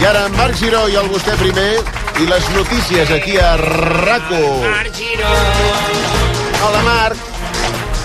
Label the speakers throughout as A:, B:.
A: I ara en Marc Giró i el vostè primer i les notícies aquí a RAC1.
B: Marc Giró.
A: Hola, Marc.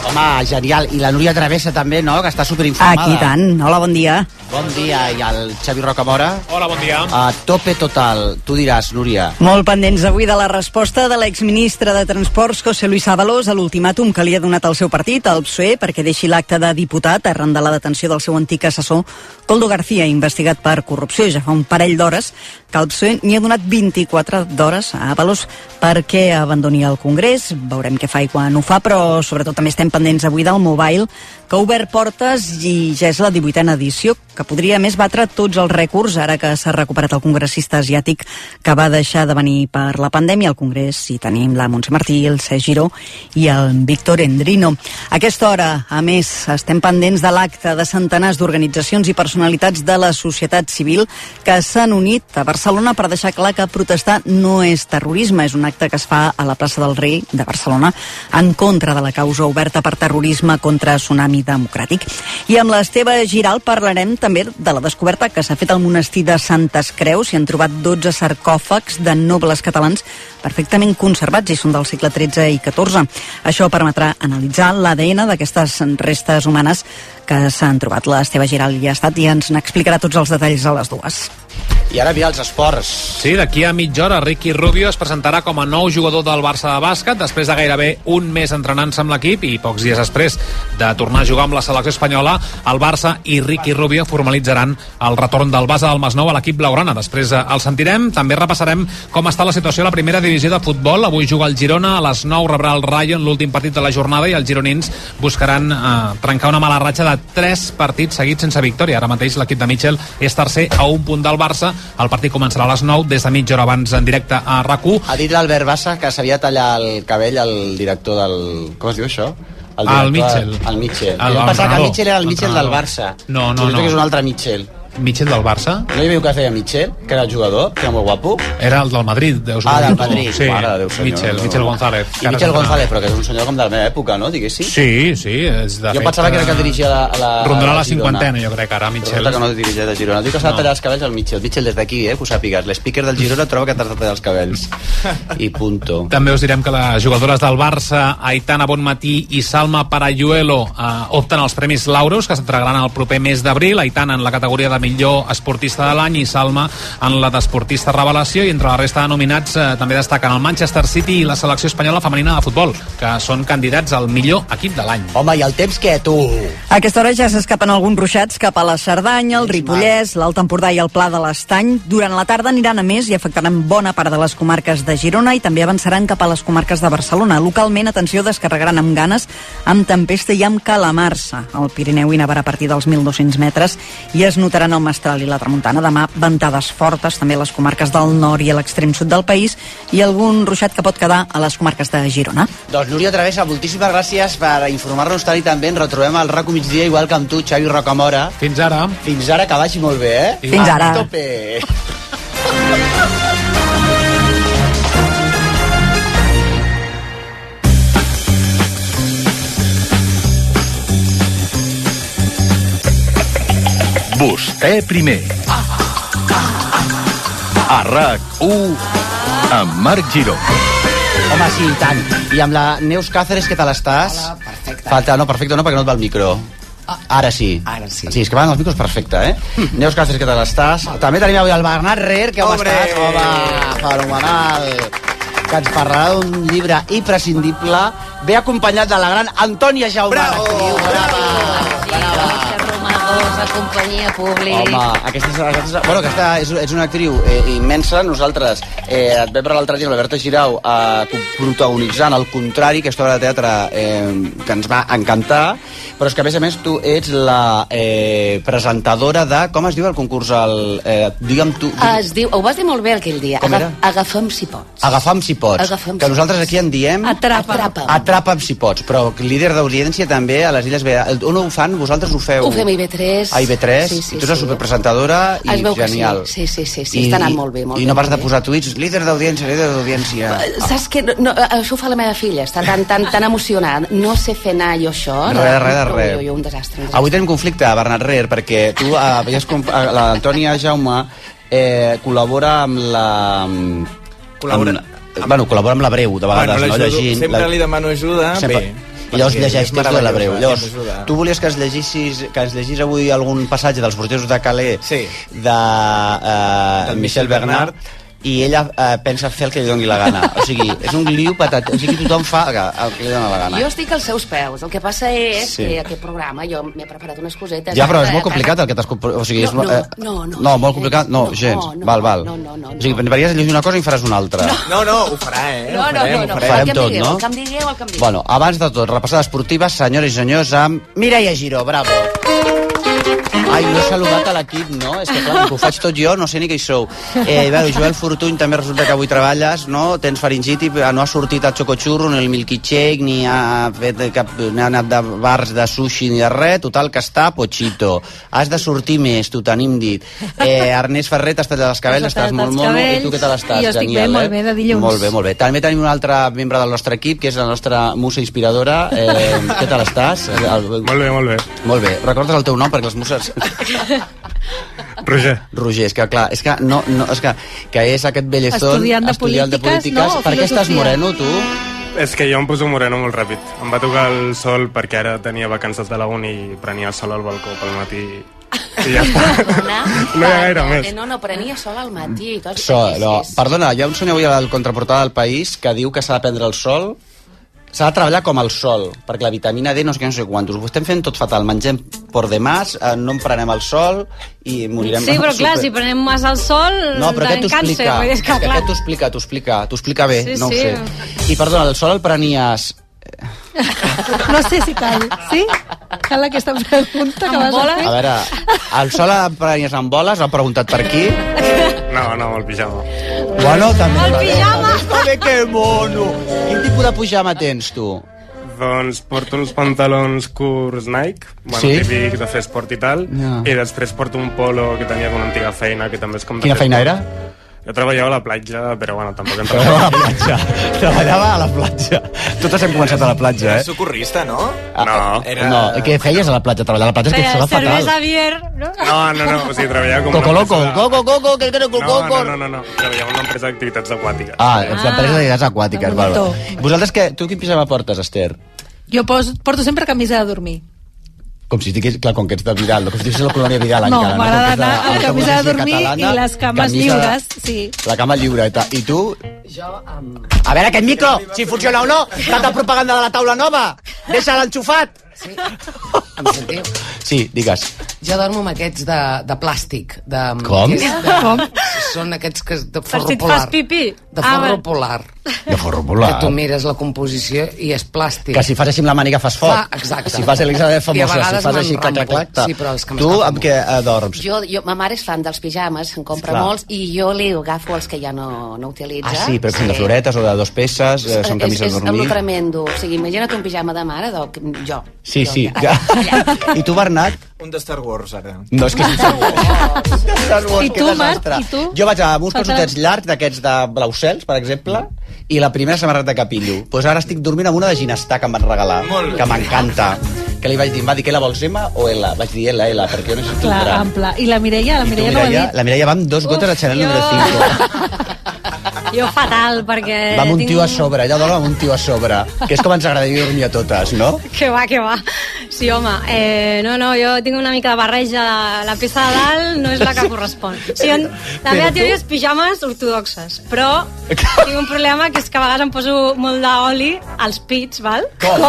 C: Home, genial. I la Núria Travessa també, no?, que està superinformada.
D: Aquí tant. Hola, bon dia.
C: Bon dia. I el Xavi Rocamora,
B: Hola, bon dia.
C: a tope total. Tu diràs, Núria.
D: Molt pendents avui de la resposta de l'exministre de Transports, José Luis Ábalos, a l'ultimàtum que li ha donat al seu partit, al PSOE, perquè deixi l'acte de diputat arran de la detenció del seu antic assessor, Coldo García, investigat per corrupció. Ja fa un parell d'hores que el PSOE n'hi ha donat 24 d'hores a Ábalos perquè abandoni el Congrés. Veurem què fa i quan ho fa, però sobretot també estem pendents avui del Mobile, que ha obert portes i ja és la 18a edició, que podria a més batre tots els rècords ara que s'ha recuperat el congressista asiàtic que va deixar de venir per la pandèmia al Congrés hi tenim la Montse Martí, el Sergi Giró i el Víctor Endrino. A aquesta hora, a més, estem pendents de l'acte de centenars d'organitzacions i personalitats de la societat civil que s'han unit a Barcelona per deixar clar que protestar no és terrorisme, és un acte que es fa a la plaça del Rei de Barcelona en contra de la causa oberta per terrorisme contra Tsunami Democràtic. I amb l'Esteve Giral parlarem també de la descoberta que s'ha fet al monestir de Santes Creus. S'hi han trobat 12 sarcòfags de nobles catalans perfectament conservats i són del segle XIII i XIV. Això permetrà analitzar l'ADN d'aquestes restes humanes que s'han trobat. L'Esteve Giral hi ha estat i ens n'explicarà tots els detalls a les dues.
C: I ara via els esports.
B: Sí, d'aquí a mitja hora Ricky Rubio es presentarà com a nou jugador del Barça de bàsquet després de gairebé un mes entrenant-se amb l'equip i pocs dies després de tornar a jugar amb la selecció espanyola, el Barça i Ricky Rubio formalitzaran el retorn del base del Masnou a l'equip blaugrana. Després eh, el sentirem, també repassarem com està la situació a la primera divisió de futbol. Avui juga el Girona, a les 9 rebrà el Rayo en l'últim partit de la jornada i els gironins buscaran eh, trencar una mala ratxa de 3 partits seguits sense victòria. Ara mateix l'equip de Mitchell és tercer a un punt del Barça. El partit començarà a les 9, des de mitja hora abans en directe a RAC1.
C: Ha dit l'Albert Bassa que s'havia de tallar el cabell al director del... Com es diu això?
B: Al
C: director-
B: Mitchell.
C: Al Mitchell.
B: Al-
C: Al,
B: al
C: Pensava que el
B: entrenador.
C: Mitchell era el Mitchell del
B: Entrenador.
C: Barça.
B: No, no,
C: Resulta
B: no.
C: que és un altre Mitchell.
B: Mitchell del Barça?
C: No hi havia que es deia Mitchell, que era el jugador, que era molt guapo.
B: Era el del Madrid, deus
C: Ah,
B: dir
C: del
B: tu.
C: Madrid.
B: Sí,
C: Mare de Déu, senyor.
B: Mitchell, Mitchell González.
C: I Mitchell González, però que és un senyor com de la meva època, no? Diguéssim.
B: Sí, sí. És de
C: jo
B: fet, eh,
C: pensava que era el que dirigia la... la
B: Rondarà la
C: Girona.
B: cinquantena, jo crec, ara, Mitchell.
C: Resulta que no dirigeix a Girona. Diu que s'ha de tallar els cabells al Mitchell. Mitchell, des d'aquí, eh, que ho sàpigues. L'speaker del Girona troba que t'has de tallar els cabells. I punto.
B: També us direm que les jugadores del Barça, Aitana Bonmatí i Salma Parayuelo, eh, opten als Premis Lauros, que s'entregaran el proper mes d'abril. Aitana en la categoria de millor esportista de l'any i Salma en la d'esportista revelació. I entre la resta de nominats eh, també destaquen el Manchester City i la selecció espanyola femenina de futbol, que són candidats al millor equip de l'any.
C: Home, i el temps que tu...
D: A aquesta hora ja s'escapen alguns ruixats cap a la Cerdanya, el Ripollès, l'Alt Empordà i el Pla de l'Estany. Durant la tarda aniran a més i afectaran bona part de les comarques de Girona i també avançaran cap a les comarques de Barcelona. Localment, atenció, descarregaran amb ganes, amb tempesta i amb calamar-se. El Pirineu hi nevarà a partir dels 1.200 metres i es notaran el mestral i la tramuntana. Demà, ventades fortes també a les comarques del nord i a l'extrem sud del país i algun ruixat que pot quedar a les comarques de Girona.
C: Doncs Núria Travessa, moltíssimes gràcies per informar-nos tant i tan bé. Ens retrobem al RACO migdia, igual que amb tu, Xavi Rocamora.
B: Fins ara.
C: Fins ara, que vagi molt bé, eh?
D: Fins ara.
C: A tope!
E: Vostè primer. A RAC1 amb Marc Giró.
C: Home, sí, i tant. I amb la Neus Cáceres, què tal estàs?
F: Hola, perfecte. Ah.
C: Falta, no, perfecte no, perquè no et va el micro. Ara sí.
F: Ara sí.
C: Sí, és que van els micros perfecte, eh? Neus Cáceres, què tal estàs? També tenim avui el Bernat Rer, que com
F: Hombre.
C: estàs? Home, fenomenal. Que ens parlarà d'un llibre imprescindible, ve acompanyat de la gran Antònia Jaume.
F: Bravo!
C: actriu. Brava! Brava!
G: Romagosa, companyia públic.
C: Home, aquesta, és, aquesta, és, bueno, aquesta és, és una actriu eh, immensa. Nosaltres eh, et vam parlar l'altre dia amb la Berta Girau eh, protagonitzant El contrari, que és obra de teatre eh, que ens va encantar, però és que, a més a més, tu ets la eh, presentadora de... Com es diu el concurs? El, eh, digue'm tu...
G: Es diu, ho vas dir molt bé aquell dia,
C: Com era?
G: agafa'm si pots.
C: Agafa'm si pots.
G: Agafa'm
C: que
G: si
C: nosaltres
G: pots.
C: aquí en diem...
D: Atrapa'm.
G: Atrapa'm.
C: Atrapa'm si pots, però líder d'audiència també a les Illes Balears. On ho fan? Vosaltres ho feu?
G: Ho fem a IB3.
C: A IB3?
G: Sí, sí,
C: I tu ets la
G: sí.
C: superpresentadora i
G: Es veu que sí.
C: genial.
G: Sí, sí, sí, sí. Està anant molt bé, molt
C: I
G: bé,
C: no pares
G: molt
C: de
G: bé.
C: posar tuits, líder d'audiència, líder d'audiència.
G: Saps què? No, no, això ho fa la meva filla, està tan, tan, tan emocionada. No sé fer anar jo això.
C: Res, res, de res.
G: Jo, jo, un desastre. Un desastre.
C: Avui tenim conflicte, Bernat Rer, perquè tu eh, veies com eh, l'Antònia Jaume eh, col·labora amb la...
F: Col·labora-
C: Amb, bueno, col·labora amb la breu, de vegades,
F: bueno,
C: no?
F: l'ajudo-
C: Llegint,
F: sempre
C: la-
F: li demano ajuda.
C: Sempre.
F: Bé,
C: I llavors
F: perquè
C: llegeix
F: és
C: textos de la breu.
F: meravellosa,
C: Llavors,
F: hem d'ajudar.
C: tu volies que es llegissis, que es llegís avui algun passatge dels Borgesos de Calais
F: Sí.
C: de eh,
F: Del
C: Michel
F: Michel
C: Bernard,
F: Bernard.
C: i ella eh, pensa fer el que li doni la gana. O sigui, és un liu patat. O sigui, tothom fa el que, el que li dona la gana.
G: Jo estic als seus peus. El que passa és
C: Sí.
G: sí. que aquest programa jo m'he preparat unes cosetes. Eh,
C: Ja, però és molt complicat el que t'has... compro- O sigui, és,
G: No,
C: molt- eh,
G: no, no, no.
C: no, molt complicat? No,
G: No,
C: gens.
G: no,
C: val, val.
G: no, no, no,
C: o sigui,
G: no.
C: pensaries llegir una cosa i en faràs una altra.
F: No, no, ho farà, eh?
G: No,
F: ho
G: no, no,
F: farem,
G: no.
F: Ho
G: Farem.
F: farem.
G: El que em
C: tot,
G: digueu,
C: no?
G: el que em digueu, el que em digueu.
C: Bueno, abans de tot, repassada esportiva, senyores i senyors, amb Mireia Giró, bravo. Ai, no he saludat a l'equip, no? És que clar, com que ho faig tot jo, no sé ni qui sou. Eh, bueno, Joel Fortuny, també resulta que avui treballes, no? Tens faringiti, eh, no has sortit a Xocochurro, ni al Milky Shake, ni ha, fet cap, ni ha anat de bars de sushi ni de res, total que està pochito. Has de sortir més, t'ho tenim dit. Eh, Ernest Ferrer, t'has tallat els cabells,
H: Us he
C: estàs
H: tallat
C: molt
H: els
C: mono, i
H: cabells,
C: tu què tal estàs?
H: i jo estic
C: Genial,
H: bé,
C: eh?
H: molt bé, de dilluns.
C: Molt bé, molt bé. També tenim un altre membre del nostre equip, que és la nostra musa inspiradora. Eh, què tal estàs? El, el,
I: Molt bé, molt bé.
C: molt bé. Recordes el teu nom, perquè les muses...
I: Roger.
C: Roger, és que clar, és que, no, no, és que, que és aquest bellezón...
H: Estudiant de polítiques, no? O
C: Per què estàs
H: filosofia?
C: moreno, tu?
I: És que jo em poso moreno molt ràpid. Em va tocar el sol perquè ara tenia vacances de la uni i prenia el sol al balcó pel matí. I ja està.
G: Perdona,
I: No hi ha gaire
G: perdona,
I: més.
G: eh, No, no, prenia sol al matí. Tot,
C: So, no, perdona, hi ha un senyor avui al contraportada del País que diu que s'ha de prendre el sol s'ha de treballar com el sol, perquè la vitamina D no sé què, no sé quantos. Ho estem fent tot fatal, mengem por de mas, eh, no en prenem el sol i morirem
H: Sí, però clar,
C: super-
H: si prenem massa al sol,
C: No, però aquest
H: tenim
C: t'ho
H: càncer.
C: explica.
H: vull dir, És que, clar,
C: Aquest t'ho explica, t'ho explica, t'ho explica bé,
H: Sí,
C: no ho
H: sí.
C: sé. I perdona, el sol el prenies...
J: No sé si cal, sí? Cal aquesta pregunta que
H: Amb
J: vas
H: bola?
J: a fer.
C: A veure, el sol el prenies amb boles, han preguntat per aquí.
I: No, no, el pijama.
C: Bueno, també...
H: El pijama!
C: Està bé, que mono! Quin tipus de pijama tens, tu?
I: Doncs porto uns pantalons curts Nike, bueno,
C: Sí?
I: sí? típic de fer esport i tal,
C: Ja.
I: i després porto un polo que tenia d'una antiga feina, que també és com... de
C: Quina
I: fer
C: feina
I: esport.
C: era?
I: Jo treballava a la platja, però bueno, tampoc em
C: Treballava a
I: treballava.
C: la platja. Treballava a la platja. Totes hem començat a la platja,
F: És
C: eh? Ah,
F: socorrista, no?
I: No.
F: Era-
C: No, què feies a la platja? Treballar a la platja és que
H: Feia
C: això va
H: cervesa
C: fatal.
H: bier, no?
I: No, no, no, o sigui, treballava com...
C: Coco
I: una
C: loco,
I: empresa
C: coco, coco, que creo
I: De...
C: coco,
I: No,
C: coco.
I: no, no, no, no, treballava en una empresa d'activitats aquàtiques.
C: Ah, ets d'empresa d'idades aquàtiques, val, val.
J: bonito.
C: Vosaltres, què, tu quin pijama portes, Esther?
J: Jo poso, porto sempre camisa de dormir.
C: Com si estigués, clar, com que ets de Vidal, com si estigués a la colònia Vidal
J: No,
C: encara. Com
J: m'agrada
C: que ets
J: anar amb
C: la
J: camisa de dormir
C: catalana,
J: i les cames lliures, sí.
C: La cama lliure, i, ta, i tu? Jo amb... A veure, aquest micro, si funciona o no, tanta propaganda de la taula nova, deixa l'enxufat.
K: Sí, em sentiu?
C: Sí, digues.
K: Jo dormo amb aquests de, de plàstic. De,
C: Com?
K: que és De, Com? Són aquests que, de
H: Per
K: forro
H: si et
K: polar.
H: fas pipí.
K: De
H: Ah,
K: forro
H: val.
K: polar.
C: De forro
K: Que
C: polar.
K: tu mires la composició i és plàstic.
C: Que si fas així amb la màniga fas foc.
K: Fa- exacte.
C: Si fas Elisabet
K: I a
C: famosa, si
K: vegades
C: fas així, clac, clac,
K: m'enrampo.
C: clac. ta.
K: Sí, però és
C: tu
K: que m'escapa
C: amb què eh, dorms?
G: Jo, jo, ma mare és fan dels pijames, en compra
C: Clar.
G: molts, i jo li agafo els que ja no, no utilitza.
C: Ah, sí, però són de floretes o de dos peces, eh, són camises
G: és,
C: de
G: és
C: dormir.
G: És tremendo. O sigui, imagina't un pijama de mare, del, que- jo.
C: Sí,
G: jo,
C: sí.
G: Allà, allà.
C: I tu, Bernat?
F: Un de Star Wars, ara.
C: No, és que és Star Wars.
J: I tu,
C: que
J: Marc?
C: desastre.
J: I tu?
C: Jo vaig amb uns
J: Falta-
C: calçotets llargs d'aquests de blaucels, per exemple, i la primera samarreta que pillo. Doncs pues ara estic dormint amb una de ginestà que em van regalar,
F: Molt bé.
C: que m'encanta. Que li vaig dir, em va dir que la vols M o L? Vaig dir L, L, perquè jo no sé si
J: Clar, en pla. I la Mireia, la
C: I tu,
J: Mireia no ho ha
C: Mireia,
J: dit.
C: la Mireia va amb dos gotes
H: Uf,
C: de Chanel
H: jo-
C: número 5.
H: Jo fatal, perquè...
C: Va amb un
H: tinc
C: tio a sobre, ella dorm amb un tio a sobre, que és com ens agradaria dormir a totes, no?
H: Que va, que va. Sí, home, eh, no, no, jo tinc una mica de barreja. La peça de dalt no és la que correspon. Sí, jo, la
C: Però
H: meva
C: tu-
H: teoria és pijames ortodoxes, però tinc un problema que és que a vegades em poso molt d'oli als pits, val?
C: Com?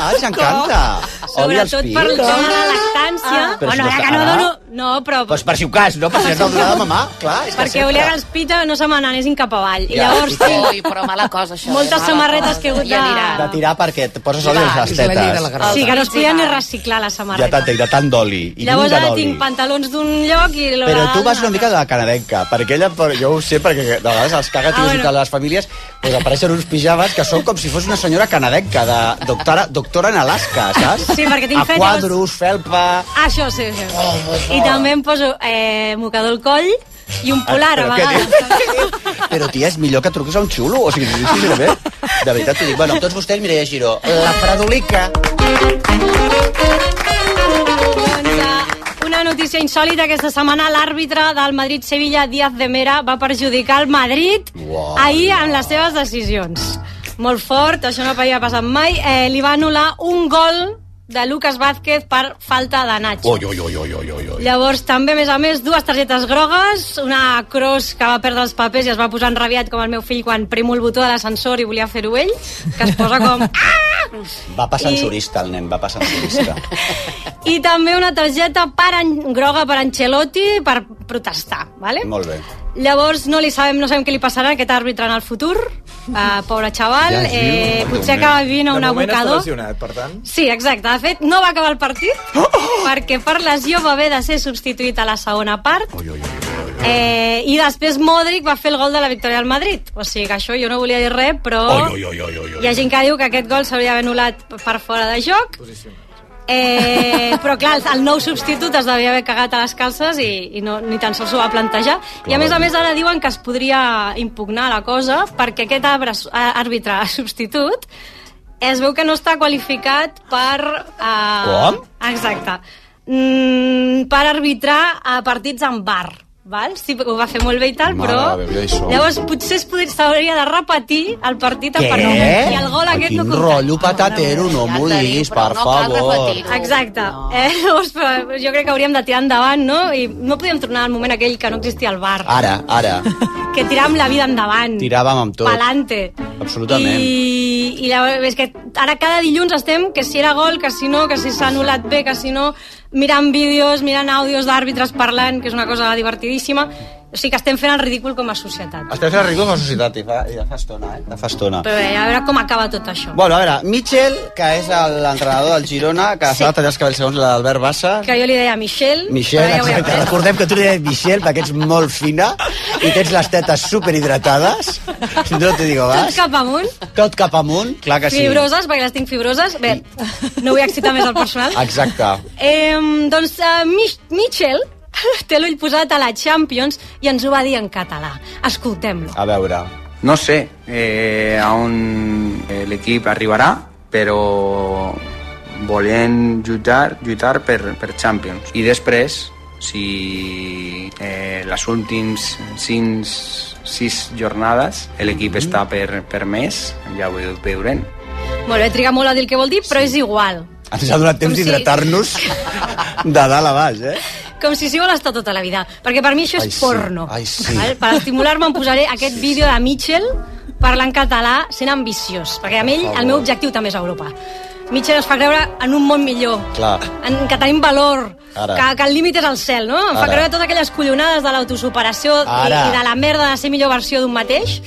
C: Ah, ens encanta. Oli als
H: Sobretot per el
C: pits.
H: tema de la lactància.
C: Ah. Però
H: bueno,
C: si no
H: ara
C: està
H: que no
C: ara.
H: dono... No, però...
C: Doncs per si ho cas, no? Per si has de donar de mamà, clar. És que
H: perquè
C: sempre.
H: volia que els pits no se me n'anessin cap avall. I
C: Ja.
H: llavors
G: Ui,
H: tinc...
G: però mala cosa, això. eh?
H: Moltes
G: mala
H: samarretes
G: cosa.
H: que he hagut
G: Ja
H: de-
G: anirà.
C: de tirar perquè et poses oli a
K: Clar,
C: les
K: és la llei de la
C: tetes.
K: gràcia.
H: Ah. Sí, que no es podia ni reciclar la samarreta.
C: Ja t'entenc, de tant d'oli. I
H: Llavors
C: lluny de
H: ara
C: l'oli.
H: tinc pantalons d'un lloc i l'hora...
C: Però tu vas una mica de la canadenca, perquè ella, per- jo ho sé, perquè de vegades els cagatius
H: Ah,
C: ah, bueno.
H: bueno.
C: de les famílies pues apareixen uns pijames que són com si fos una senyora canadenca, de doctora, doctora en Alaska, saps?
H: Sí, perquè tinc
C: A
H: fetes.
C: quadros, felpa...
H: Ah, això, sí, sí.
C: Oh,
H: I també em poso eh, mocador al coll i un polar a
C: Ah, Però què
H: vegades.
C: dius? Però, tia, és millor que truquis a un xulo. O sigui, t'ho dic sincerament. De veritat t'ho dic. Bueno, amb tots vostès, Mireia Giró, la fredolica.
H: Doncs, eh, una una notícia insòlita aquesta setmana. L'àrbitre del Madrid-Sevilla, Díaz de Mera, va perjudicar el Madrid
L: Uau.
H: ahir amb les seves decisions. Molt fort, això no havia passat mai. Eh, li va anul·lar un gol de Lucas Vázquez per falta de Nacho.
A: Oi, oi, oi, oi, oi, oi, oi.
H: Llavors, també, a més a més, dues targetes grogues, una cross que va perdre els papers i es va posar enrabiat com el meu fill quan premo el botó de l'ascensor i volia fer-ho ell, que es posa com... Ah!
C: Va passar
H: I-
C: censurista, el nen, va passar censurista.
H: I també una targeta per en... groga per Ancelotti per protestar, vale?
C: Molt bé.
H: Llavors, no li sabem, no sabem què li passarà a aquest àrbitre en el futur. Uh, pobre xaval,
F: Ja es diu,
H: eh,
F: Déu
H: potser
F: meu.
H: acaba vivint a un
F: De moment està
H: abocador.
F: lesionat, Oh! per tant.
H: Sí, exacte. De fet, no va acabar el partit perquè per lesió va haver de ser substituït a la segona part. Eh, I després Modric va fer el gol de la victòria al Madrid. O sigui que això jo no volia dir res, però
A: Oi, oi, oi, oi, oi.
H: hi ha gent que diu que aquest gol s'hauria d'haver anul·lat per fora de joc. Eh, però clar, el- el nou substitut es devia haver cagat a les calces i, i no, ni tan sols ho va plantejar. I a més a més ara diuen que es podria impugnar la cosa perquè aquest arbre, àrbitre substitut es veu que no està qualificat per... Eh,
L: Com?
H: Exacte. Mm, per arbitrar a partits en bar. Val? Sí, ho va fer molt bé i tal,
L: Mare
H: però...
L: de Déu, ja hi som.
H: Llavors potser es podria- s'hauria de repetir el partit a
C: Què?
H: part i el gol
C: Ai,
H: aquest
C: Quin
H: no compta.
C: rotllo patatero, no m'ho diguis, per favor.
H: Exacte. Eh, llavors, però jo crec que hauríem de tirar endavant, no? I no podíem tornar al moment aquell que no existia el bar.
C: Ara, ara.
H: Que tiràvem la vida endavant.
C: Ah. Tiràvem amb tot.
H: Pelante.
C: Absolutament.
H: I, I llavors, és que ara cada dilluns estem que si era gol, que si no, que si s'ha anul·lat bé, que si no, mirant vídeos, mirant àudios d'àrbitres parlant, que és una cosa divertidíssima. O sigui que estem fent el ridícul com a societat.
C: Estem fent el ridícul de la societat i fa, i ja fa estona, eh? Ja fa estona.
H: Però bé, a veure com acaba tot això.
C: Bueno, a veure, Mitchell, que és el- l'entrenador del Girona, que s'ha de tallar els cabells segons l'Albert Bassa.
H: Que jo li deia a Michel,
C: Michelle,
H: però ja ho he
C: exacte.
H: après.
C: Recordem que tu li deies Michelle perquè ets molt fina i tens les tetes superhidratades. No te digo
H: Tot
C: vas.
H: cap amunt.
C: Tot cap amunt, clar que sí.
H: Fibroses, perquè les tinc fibroses. Bé, no vull excitar més el personal.
C: Exacte.
H: Eh, doncs uh, Mich Michel té l'ull posat a la Champions i ens ho va dir en català. Escoltem-lo.
C: A veure.
M: No sé eh, a on eh, l'equip arribarà, però volem lluitar, lluitar per, per Champions. I després, si eh, les últimes cinc, sis jornades l'equip
C: Mhm.
M: està per, per més, ja ho veurem.
H: Molt bé, triga molt a dir el que vol dir, però és igual.
C: Ens ha donat temps
H: Com si-
C: d'hidratar-nos de dalt a baix, eh?
H: Com si s'hi vol estar tota la vida. Perquè per mi això és
C: Ai, sí.
H: porno.
C: Ai, sí.
H: Val? Per estimular-me em posaré aquest vídeo de Mitchell parlant català sent ambiciós. Perquè a mi
C: favor.
H: el meu objectiu també és Europa. Mitchell es fa creure en un món millor,
C: Clar.
H: en, que tenim valor,
C: Ara.
H: que, que el límit és el cel, no? Em fa
C: Ara.
H: creure totes aquelles collonades de l'autosuperació i,
C: Ara.
H: i de la merda de ser millor versió d'un mateix,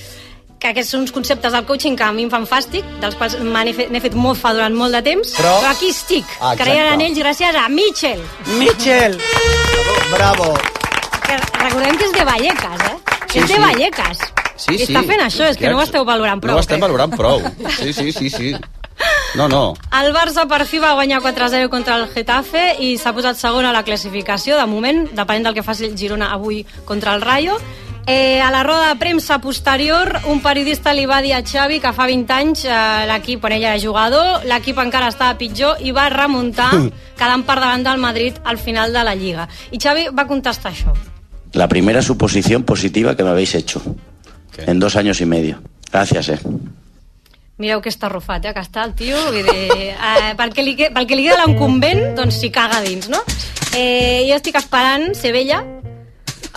H: que aquests són uns conceptes del coaching que a mi em fan fàstic, dels quals me n'he fet, n'he fet mofa durant molt de temps,
C: Però-
H: però aquí estic,
C: Ah, exacte.
H: creient en ells gràcies a Mitchell.
C: Mitchell! Bravo!
H: Que recordem que és de Vallecas, eh?
C: Sí,
H: és de
C: sí.
H: Vallecas.
C: Sí,
H: I està
C: sí.
H: fent això, és que no ho esteu valorant prou. eh?
C: No ho estem
H: crec.
C: valorant prou. Sí, sí, sí, sí. No, no.
H: El Barça per fi va guanyar 4-0 contra el Getafe i s'ha posat segon a la classificació, de moment, depenent del que faci el Girona avui contra el Rayo. Eh, a la roda de premsa posterior, un periodista li va dir a Xavi que fa 20 anys eh, l'equip, quan ell era jugador, l'equip encara estava pitjor i va remuntar, quedant per davant del Madrid al final de la Lliga. I Xavi va contestar això.
N: La primera suposición positiva que me habéis hecho. En dos años y medio. Gracias, eh.
H: Mireu que està arrufat, eh, que està el tio. Vull dir, eh, pel, que li, que- pel que li queda un convent, doncs s'hi caga dins, no? Eh, jo estic esperant ser vella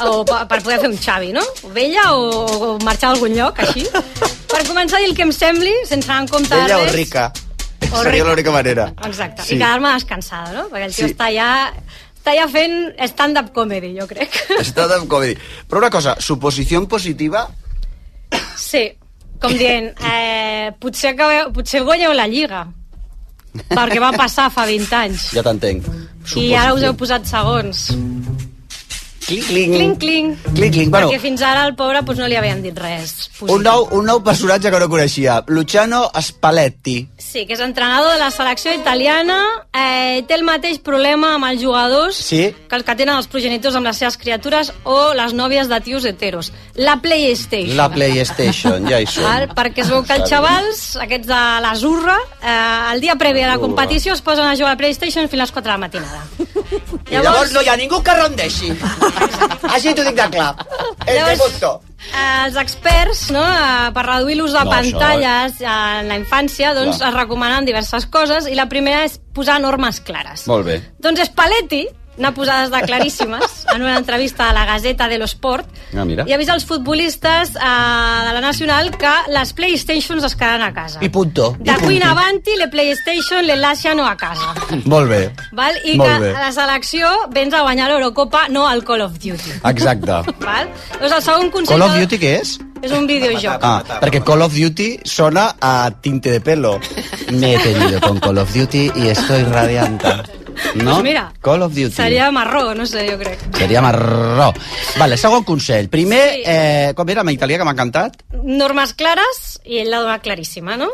H: o pa- per poder fer un Xavi, no? O Vella o, o marxar a algun lloc, així. Per començar a dir el que em sembli, sense anar en compte de
C: Ella o
H: res.
C: rica.
H: O
C: Seria
H: rica.
C: l'única manera.
H: Exacte,
C: Sí.
H: i quedar-me descansada, no? Perquè el tio
C: Sí.
H: està ja, està ja fent stand-up comedy, jo crec.
C: Està de comedy. Però una cosa, suposició positiva...
H: Sí, com dient, eh, potser, acabeu, potser guanyeu la Lliga, perquè va passar fa 20 anys.
C: Ja t'entenc.
H: I ara us heu posat segons.
C: Cling, cling.
H: Cling, cling.
C: Cling, cling. Bueno,
H: Perquè fins ara al pobre doncs, no li havien dit res.
C: un nou, un nou personatge que no coneixia. Luciano Spalletti.
H: Sí, que és entrenador de la selecció italiana, eh, té el mateix problema amb els jugadors
C: Sí?
H: que el que tenen els progenitors amb les seves criatures o les nòvies de tios heteros. La PlayStation.
C: La PlayStation, ja hi
H: Val?
C: som.
H: Perquè es veu que els xavals, aquests de la Zurra, eh, el dia previ a la competició es posen a jugar a PlayStation fins a les 4 de la matinada.
C: I llavors no hi ha ningú que rendeixi. Així t'ho dic de clar. Llavors... punto.
H: Eh, els experts, no, eh, per reduir l'ús de
C: No,
H: pantalles eh, en la infància, doncs
L: Clar.
H: es recomanen diverses coses i la primera és posar normes clares.
L: Molt bé.
H: Doncs Spalletti n'ha posades de claríssimes en una entrevista a la Gazeta de l'Esport
L: Ah, mira.
H: i avisa els futbolistes eh, de la Nacional que les Playstations es quedaran a casa.
C: I punto.
H: De qui in avanti le Playstation le lasciano a casa.
C: Molt bé.
H: Val? I
C: Molt
H: que
C: bé.
H: la selecció vens a guanyar l'Eurocopa, no al Call of Duty.
C: Exacte.
H: Val? Doncs el segon
C: Ah.
H: consell...
C: Call of
H: de-
C: Duty què és?
H: És un videojoc.
C: Ah, perquè Call of Duty sona a tinte de pelo. Me he tenido con Call of Duty y estoy radiante. ¿No?
H: Pues mira,
C: Call of Duty.
H: Ah. Seria marró, no sé, jo crec.
C: Seria marró. Vale, segon consell. Primer, eh, com era en italià, que m'ha encantat?
H: Normes clares, i ell la dona claríssima, no?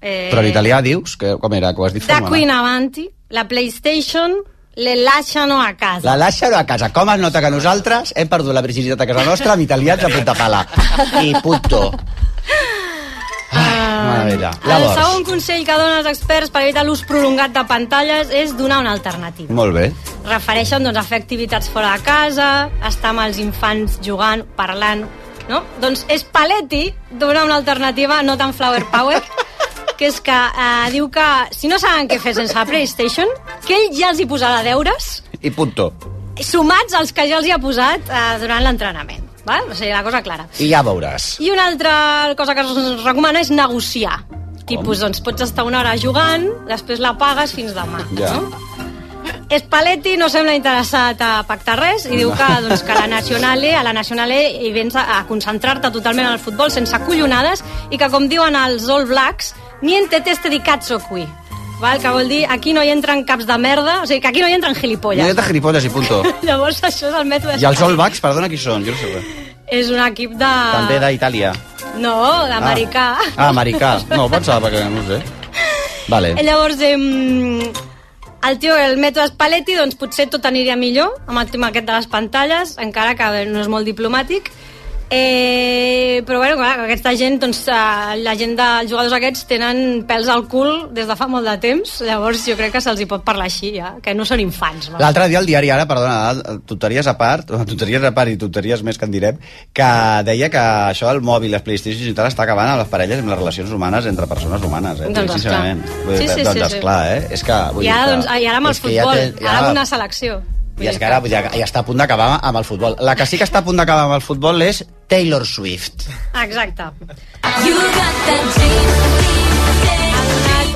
H: Eh,
C: Però en italià dius, que, com era, que ho has dit?
H: Da
C: fenomenal.
H: qui in avanti, la PlayStation le lasciano a casa.
C: La Lázaro a casa. Com es nota que nosaltres hem perdut la virginitat a casa nostra amb italians a punta pala. I punto. Ai, mare meva.
H: Ah. El
C: Llavors,
H: segon consell que donen els experts per evitar l'ús prolongat de pantalles és donar una alternativa.
C: molt bé.
H: refereixen doncs, a fer activitats fora de casa, estar amb els infants jugant, parlant, no? Doncs és Paletti donar una alternativa no tan flower power, que és que eh, diu que si no saben què fer sense la PlayStation, que ell ja els hi posarà deures,
C: I punto.
H: sumats als que ja els hi ha posat eh, durant l'entrenament. Val? O sigui, la cosa clara.
C: I ja veuràs.
H: I una altra cosa que es recomana és negociar. Tipus, doncs pots estar una hora jugant, després la pagues fins demà.
C: Ja.
H: Spalletti no sembla interessat a pactar res i diu que, doncs, que a la Nacionale, a la Nacionale hi vens a, a concentrar-te totalment en el futbol sense collonades i que, com diuen els All Blacks, niente teste di cazzo qui. Val? Que vol dir, aquí no hi entren caps de merda, o sigui, que aquí no hi entren
C: Una
H: gilipolles.
C: dieta gilipolles i punto.
H: Llavors això és el mètode.
C: I els All Blacks, perdona, qui són? Jo no sé res.
H: És un equip de...
C: També d'Itàlia.
H: No, d'americà.
C: Ah, americà. No, pensava que no ho sé. Vale.
H: Eh, Llavors, eh, el tio, el mètode Spalletti, doncs potser tot aniria millor amb el tema aquest de les pantalles, encara que bé, no és molt diplomàtic. Eh, però bueno, clar, aquesta gent, doncs, eh, la gent dels jugadors aquests tenen pèls al cul des de fa molt de temps, llavors jo crec que se'ls hi pot parlar així, ja, que no són infants. va.
C: L'altre dia, el diari Ara, perdona, tonteries a part, tonteries a part i tonteries més que en direm, que deia que això del mòbil, les Playstations i tal, està acabant amb les parelles i amb les relacions humanes entre persones humanes, eh?
H: Doncs
C: T'ho dic
H: esclar.
C: sincerament. Vull dir,
H: Sí, sí,
C: doncs,
H: sí, sí.
C: esclar, eh? És que... Vull
H: I ara,
C: dir que,
H: doncs, i ara amb el
C: és que ja
H: futbol,
C: té- ja-
H: ara amb una selecció.
C: I és que ara ja, ja està a punt d'acabar amb el futbol. La que sí que està a punt d'acabar amb el futbol és Taylor Swift.
H: Exacte.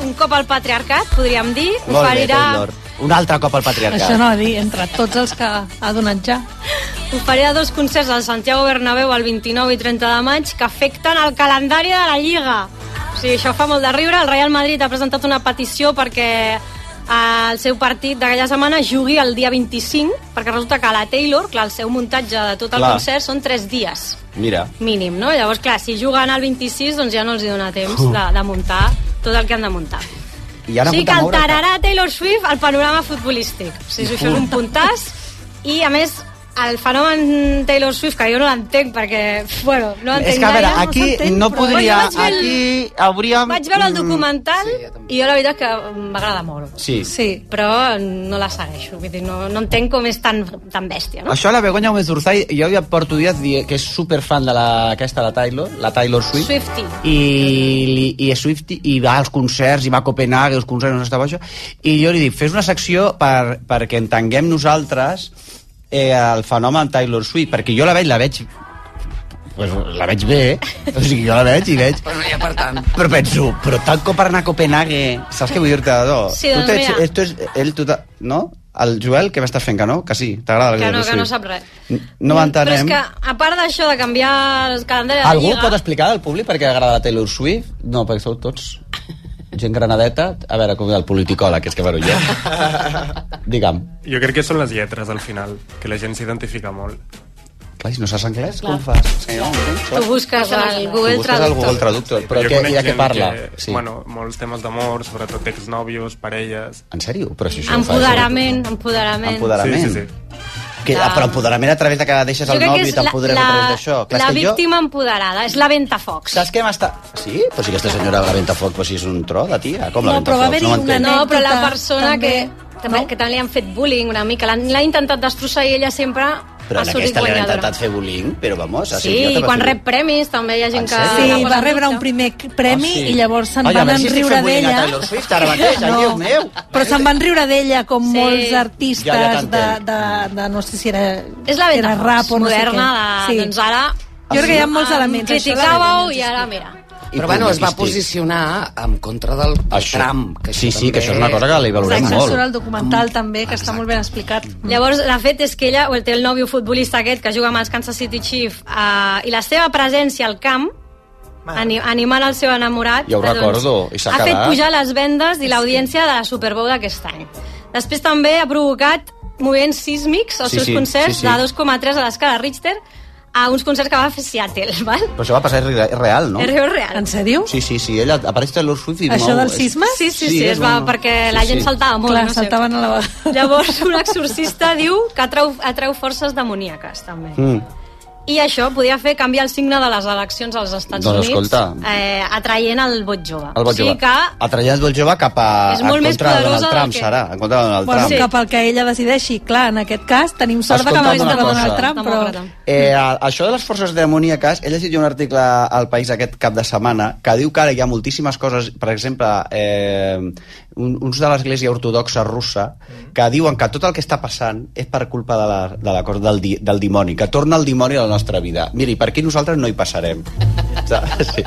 H: Un cop al patriarcat, podríem dir,
C: Molt bé,
H: oferirà...
C: Taylor. Un altre cop al patriarcat.
J: Això no va dir, entre tots els que ha donat ja.
H: Oferirà dos concerts al Santiago Bernabéu el 29 i 30 de maig que afecten el calendari de la Lliga. O sigui, això fa molt de riure. El Real Madrid ha presentat una petició perquè eh, el seu partit d'aquella setmana jugui el dia 25, perquè resulta que la Taylor, clar, el seu muntatge de tot el
C: Clar.
H: concert són 3 dies
C: Mira.
H: mínim, no? Llavors, clar, si juguen al 26, doncs ja no els hi dona temps
C: Uh.
H: de, de muntar tot el que han de muntar.
C: I ara
H: sí
C: puta
H: que
C: moure-
H: alterarà Taylor Swift el panorama futbolístic. O sigui, això és un puntàs. I, a més, el fenomen Taylor Swift, que jo no l'entenc perquè, bueno, no l'entenc
C: és que, a veure,
H: gaire.
C: aquí no podria...
H: Però jo vaig veure el-
C: Aquí Mm. hauríem...
H: Vaig veure el documental sí, i jo la veritat que m'agrada molt.
C: Mm, Sí.
H: Sí, però no la segueixo. Vull dir, no, no entenc com és tan, tan bèstia, no?
C: Això la Begoña Gómez Urzai, jo ja porto dies dient que és superfan de la, aquesta, la Taylor, la Taylor Swift,
H: Swifty.
C: i, li- i, és Swift i va als concerts, i va a Copenhague, els concerts on estava això, i jo li dic, fes una secció per, perquè entenguem nosaltres eh, el fenomen Taylor Swift, perquè jo la veig, la veig pues, la veig bé, o sigui, jo la veig i veig...
K: Però no hi ha per tant.
C: Però penso, però tant com per anar a Copenhague, saps què vull dir-te, Dó?
H: Sí, doncs
C: tu tens,
H: mira.
C: esto és, ell, tu, te- no? El Joel, que m'estàs fent que no? Que sí, t'agrada la
H: Que no,
C: Taylor
H: que no
C: Swift.
H: sap res.
C: No
H: Però és
C: entenem.
H: que, a part d'això de canviar el calendari de la
C: Algú
H: Lliga...
C: pot explicar al públic per què agrada la Taylor Swift? No, perquè sou tots gent granadeta. A veure, com el politicòleg, és que barullet. Digue'm.
I: Jo crec que són les lletres, al final, que la gent s'identifica molt.
C: Clar, si no saps anglès, com fas? Sí,
H: Tu busques al Google
C: Tu busques al Google Traductor, però
I: jo
C: què-
I: conec
C: i de què
I: gent
C: parla?
I: Que,
C: Sí.
I: sí. Bueno, molts temes d'amor, sobretot exnòvios, parelles...
C: En sèrio? Però si això ho fas...
H: Empoderament, empoderament.
C: Empoderament.
I: Sí, sí,
C: Que, ah, però empoderament a través de que deixes el nòvio i t'empoderes a través d'això. Clar,
H: la
C: és que jo-
H: víctima empoderada, és la ventafocs.
C: Saps què m'està... Sí? Però si aquesta senyora la ventafoc, però si és un tro de tia. Com la
H: No, però
C: ventafoc?
H: va haver-hi
C: Doncs no
H: una
C: m'entenc.
H: No, però la persona
J: també,
H: que... També, no? que també li han fet bullying una mica. L'han l'ha intentat destrossar i ella sempre
L: Però
H: ha
L: en
H: sortit
L: aquesta li han
H: guanyadora.
L: intentat fer bullying, però vamos...
H: Sí, i quan rep premis també hi ha gent que...
J: Sí,
H: la posa
J: va
H: en
J: rebre un
H: dubte.
J: primer premi
L: Ah, sí.
J: i llavors se'n
L: Ai, a
J: van
L: veure si estic
J: enriure
L: fent bullying a
J: d'ella.
L: Taylor Swift ara mateix, ai, Déu meu.
J: Però se'n van riure d'ella com
H: Sí.
J: molts
L: Ja,
J: artistes
L: ja
J: de,
L: t'entenc.
J: de, de, no sé si era,
H: És la
J: era
H: venda
J: rap o no
H: moderna,
J: sé
H: la...
J: què.
H: doncs ara...
J: Jo crec que hi ha molts
H: em
J: elements, això de
H: Criticàveu
J: l'element
H: i ara, mira.
K: Però bueno, es va
L: publicístic.
K: posicionar en contra del
L: Això,
K: Trump. Que
L: sí, sí, que això és una cosa que li valorem
J: Exacte,
L: molt. Mm.
J: surt el documental també, que està molt ben explicat.
H: Llavors, la fet és que ella o té el nòvio futbolista aquest que juga amb els Kansas City Chiefs eh, i la seva presència al camp ani animant el seu enamorat
L: Ja ho
H: eh,
L: recordo, i s'ha
H: ha fet
L: quedat.
H: pujar les vendes i l'audiència de la Super Bowl d'aquest any. Després també ha provocat moviments sísmics als
C: Sí,
H: seus
C: sí,
H: concerts
C: sí, sí.
H: de 2,3 a l'escala Richter a uns concerts que va fer a Seattle, val?
C: Però això va passar, és re- és real, no?
H: És real.
J: En sèrio?
C: Sí, sí, sí, ella apareix Taylor Swift i
J: Això
C: mou, eh?
J: del
C: és-
J: sisme?
H: Sí, sí, sí, es va, perquè
C: Sí,
H: la gent
C: sí.
H: saltava molt.
J: Clar,
H: no sé.
J: saltaven a la vegada.
H: Llavors, un exorcista diu que atrau, atrau forces demoníaques, també.
C: Mm.
H: I això podia fer canviar el signe de les eleccions als Estats
C: Doncs,
H: Units,
C: escolta.
H: eh, atraient el vot jove.
C: El vot
H: o sigui
C: jove.
H: que
C: Atraient el vot jove cap a...
H: És molt
C: en
H: més
C: contra de
H: poderosa
C: Donald
H: del
C: Trump,
H: que-
C: Sara, en contra de Donald
J: Bueno,
C: Trump.
J: sí. cap al que ella decideixi. Clar, en aquest cas tenim sort de que
C: Escolta'm
J: va vindre
C: una
J: Donald
C: cosa.
J: Trump, però...
C: Eh, a- això de les forces demoníaques, he llegit jo un article al País aquest cap de setmana que diu que ara hi ha moltíssimes coses, per exemple, eh, un, uns de l'església ortodoxa russa que diuen que tot el que està passant és per culpa de la, de la cosa del, di, del dimoni, que torna el dimoni a la nostra vida. Miri, per aquí nosaltres no hi passarem. Saps? Sí.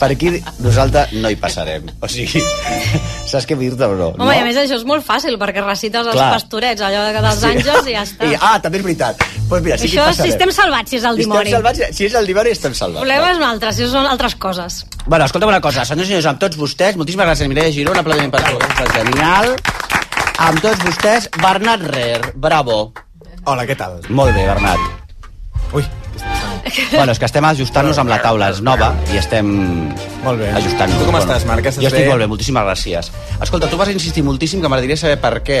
C: Per aquí nosaltres no hi passarem. O sigui, saps què vull dir-te o no?
H: Home, i
C: no?
H: a més això és molt fàcil, perquè recites els
C: Clar.
H: pastorets, allò de- dels sí. àngels, i ja està.
C: I, ah, també és veritat. Pues mira, sí que hi
H: això, si
C: passarem.
H: estem salvats, si és el
C: Si
H: dimoni.
C: Estem salvats, si és el dimoni, estem
H: El
C: salvats.
H: problema és un altre, si són altres coses.
C: Bueno, escolta'm una cosa, senyors i senyors, amb tots vostès, moltíssimes gràcies, Mireia Giró, un aplaudiment per tu, és genial. Amb tots vostès, Bernat Rer, bravo. Hola, què tal? Molt bé, Bernat. Ui, Bueno, és que estem ajustant-nos amb la taula, és nova, i estem molt bé. ajustant
F: Tu com estàs, Marc? Estàs
C: jo estic
F: bé?
C: molt bé, moltíssimes gràcies. Escolta, tu vas insistir moltíssim que m'agradaria saber per què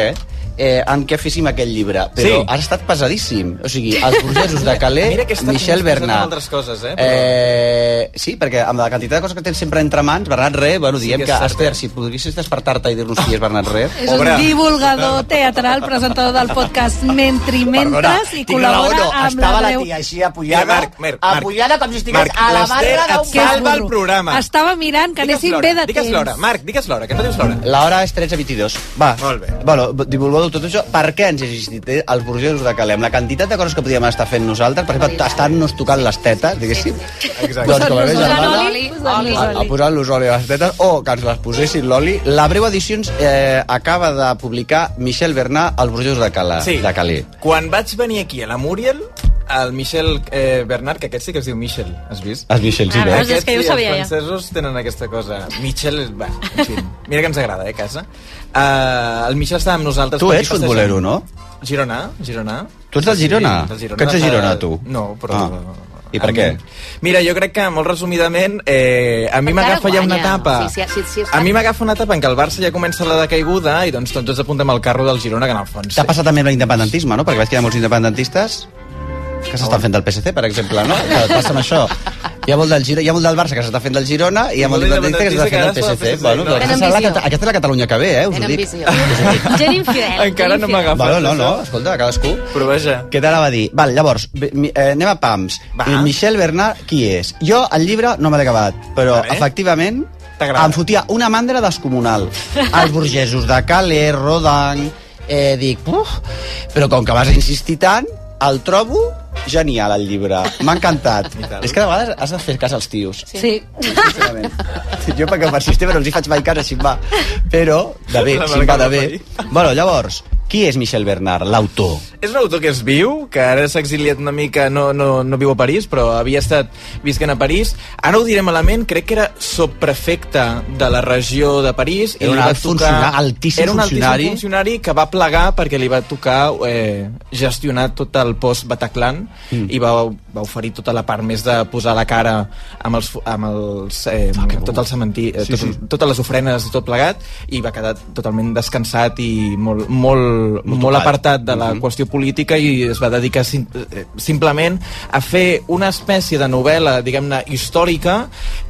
C: eh, en què féssim aquell llibre, però
F: Sí.
C: has estat pesadíssim. O sigui, els burgesos de
F: Mira
C: Calais,
F: que he estat
C: Michel
F: més pesat amb
C: Bernat,
F: altres coses, eh?
C: Eh, sí, perquè amb la quantitat de coses que tens sempre entre mans, Bernat Re, bueno,
F: Sí
C: diem
F: que
C: que,
F: és cert, eh?
C: Esther, si podries despertar-te i dir-nos qui és Bernat Re...
J: És un divulgador teatral, presentador del podcast Mentri Mentres i col·labora amb la
L: Estava la
J: veu...
L: tia així apoyada, Marc, Marc, Marc, apoyada com si estigués
F: Marc,
L: a la
F: l'Ester
L: barra d'un
F: et salva el
L: burro.
F: programa.
J: Estava mirant que
F: Digues
J: anéssim
F: l'hora,
J: bé de
F: digues l'hora.
J: temps.
F: Marc, digues l'hora, que no dius l'hora.
C: L'hora és 13.22. Va, Molt bé. Bueno, divulgueu tot això. Per què ens he insistit eh, als burgesos de Calem? La quantitat de coses que podíem estar fent nosaltres, per exemple, estar-nos tocant les tetes, diguéssim. Exacte. Doncs, com a més,
J: Posant-nos
C: germana,
J: oli, posant-nos
C: a,
J: oli.
C: a posant-los oli a les tetes o que ens les posessin l'oli. La Breu Edicions eh, acaba de publicar Michel Bernat als burgesos de, Cala,
F: Sí.
C: de Calais.
F: Quan vaig venir aquí a la Muriel, el Michel eh, Bernard, que aquest sí que es diu Michel, has vist?
C: Els Michel, sí,
F: Ah,
C: veus?
F: veus, és que jo ho sabia,
H: ja.
F: Els francesos tenen aquesta cosa. Michel, va, en fi, mira que ens agrada, eh, a casa. Uh, el Michel estava amb nosaltres...
C: Tu
F: per aquí
C: ets futbolero, no?
F: Girona, Girona.
C: Tu ets del Girona?
F: del Girona.
C: Que ets de Girona, tu?
F: No, però...
C: Ah. I per
F: a
C: què?
F: mi- Mira, jo crec que, molt resumidament, eh, a
G: Perquè ara
F: mi m'agafa ja una
G: guanya.
F: etapa...
G: Sí, sí, sí, sí,
F: A mi m'agafa una etapa en què el Barça ja comença la decaiguda i doncs tots apuntem al carro del Girona, que en el fons...
C: T'ha passat també amb l'independentisme, no? Perquè veig que hi ha molts independentistes que s'estan fent del PSC, per exemple, no? Que passa amb això. Hi ha molt del, Giro, hi ha molt del Barça que s'està fent del Girona i hi ha molt d'independentista que s'està fent del PSC. Bueno, doncs aquesta,
G: Tenen
C: és la,
G: visió.
C: Cata- aquesta és la Catalunya que ve, eh? Us ho
G: Tenen
C: dic.
G: visió. Gent infidel.
F: Encara
G: gent
F: no
G: infidel.
F: m'agafa.
C: Bueno, no, no, escolta, cadascú.
F: Però vaja.
C: Què t'anava a dir? Val, llavors, bé, mi- eh, anem a pams. Va. Michel Bernat, qui és? Jo, el llibre, no me l'he acabat, però, efectivament, em fotia una mandra descomunal. Els burgesos de Calais, Rodan... Eh, dic, uf, però com que vas insistir tant, el trobo genial, el llibre. M'ha encantat. És que de vegades has de fer cas als tios.
J: Sí.
C: Jo perquè per sistema no els hi faig mai cas, així em va. Però, de bé,
F: La
C: si em va de
F: marca
C: bé.
F: del
C: Bueno, llavors, qui és Michel Bernard, l'autor?
F: És un autor que es viu, que ara s'ha exiliat una mica, no, no, no viu a París, però havia estat visquent a París. Ara ho diré malament, crec que era subprefecte de la regió de París.
C: Era
F: li
C: un
F: va
C: alt funcionari- altíssim
F: era un altíssim
C: funcionari.
F: funcionari que va plegar perquè li va tocar eh, gestionar tot el post Bataclan mm. i va va oferir tota la part més de posar la cara amb els, fu- amb els eh,
C: Ah,
F: amb tot el cementiri, eh,
O: Sí,
F: tot,
O: sí.
F: totes les ofrenes i tot plegat, i va quedar totalment descansat i molt, molt, molt,
O: tocat.
F: apartat de
C: Mhm.
F: la qüestió política i es va dedicar sim eh, simplement a fer una espècie de novel·la, diguem-ne, històrica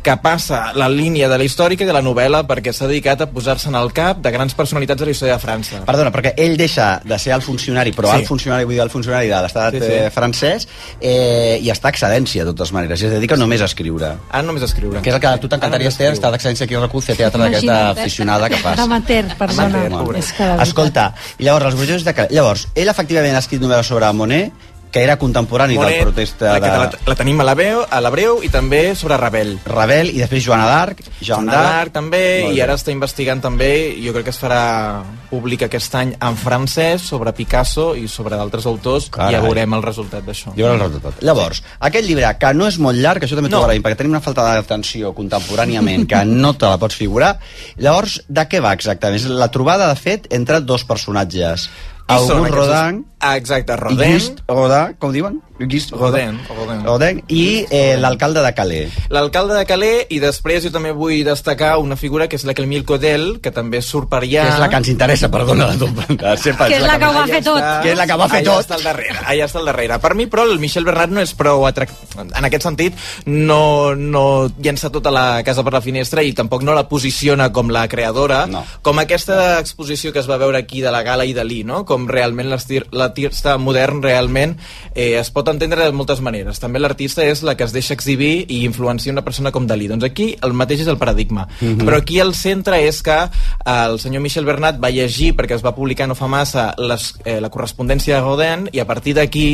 F: que passa la línia de la històrica i de la novel·la perquè s'ha dedicat a posar-se en el cap de grans personalitats de la història de França.
C: Perdona, perquè ell deixa de ser el funcionari, però
F: Sí.
C: sí. el funcionari, vull dir, el funcionari de l'estat
F: Sí,
C: sí,
F: sí.
C: sí. eh, francès, eh, i està a excel·lència, de totes maneres, i es dedica només a escriure.
F: Ara Ah, només escriure.
C: Que és el que a tu
F: Ah,
C: t'encantaria, Esther, estar d'excel·lència aquí al RAC1, fer teatre d'aquesta
J: Imagina't, eh?
C: aficionada que fas.
J: Amateur, perdona.
C: Amateur, pobre.
J: És que la veritat-
C: Escolta, i llavors, els burgesos de Cal... Llavors, ell efectivament ha escrit novel·les sobre Monet, que era contemporani
F: Monet,
C: del protesta
F: la, que te la,
C: de...
F: la tenim a l'Abreu, a l'Abreu i també sobre Rebel.
C: Rebel i després Joana d'Arc, Joan
F: Joana d'Arc
C: d'Arc...
F: també,
C: Molt
F: i
C: bé.
F: ara està investigant també, jo crec que es farà públic aquest any en francès, sobre Picasso i sobre d'altres autors,
C: Carai.
F: i ja veurem el resultat d'això.
C: Jo el resultat. Llavors, aquest llibre, que no és molt llarg, això també t'ho
F: No.
C: no. agraïm, perquè tenim una falta d'atenció contemporàniament, que no te la pots figurar. Llavors, de què va exactament? És la trobada, de fet, entre dos personatges. Auguste Rodin
F: Ah, exacte,
C: i
F: Rodin.
C: Guist Rodin, com diuen? Guist
F: Rodin. Rodin.
C: Rodin i eh, l'alcalde de Calais.
F: L'alcalde de Calais, i després jo també vull destacar una figura que és la que el Milko Del, que també surt per allà.
C: Que és la que ens interessa, perdona, de tot. de sempre,
H: Que és la que ho va fer tot.
C: Que és la que va fer
F: allà
C: tot.
F: Està al darrere, allà està al darrere. Per mi, però, el Michel Bernat no és prou atractiu. En aquest sentit, no, no llença tota la casa per la finestra i tampoc no la posiciona com la creadora, no. com aquesta exposició que es va veure aquí de la Gala i Dalí, no? com realment l'estir- l'artista modern realment eh, es pot entendre de moltes maneres. També l'artista és la que es deixa exhibir i influencia una persona com Dalí. Doncs aquí el mateix és el paradigma.
O: Mhm.
F: Però aquí el centre és que eh, el senyor Michel Bernat va llegir, perquè es va publicar no fa massa, les, eh, la correspondència de Rodin, i a partir d'aquí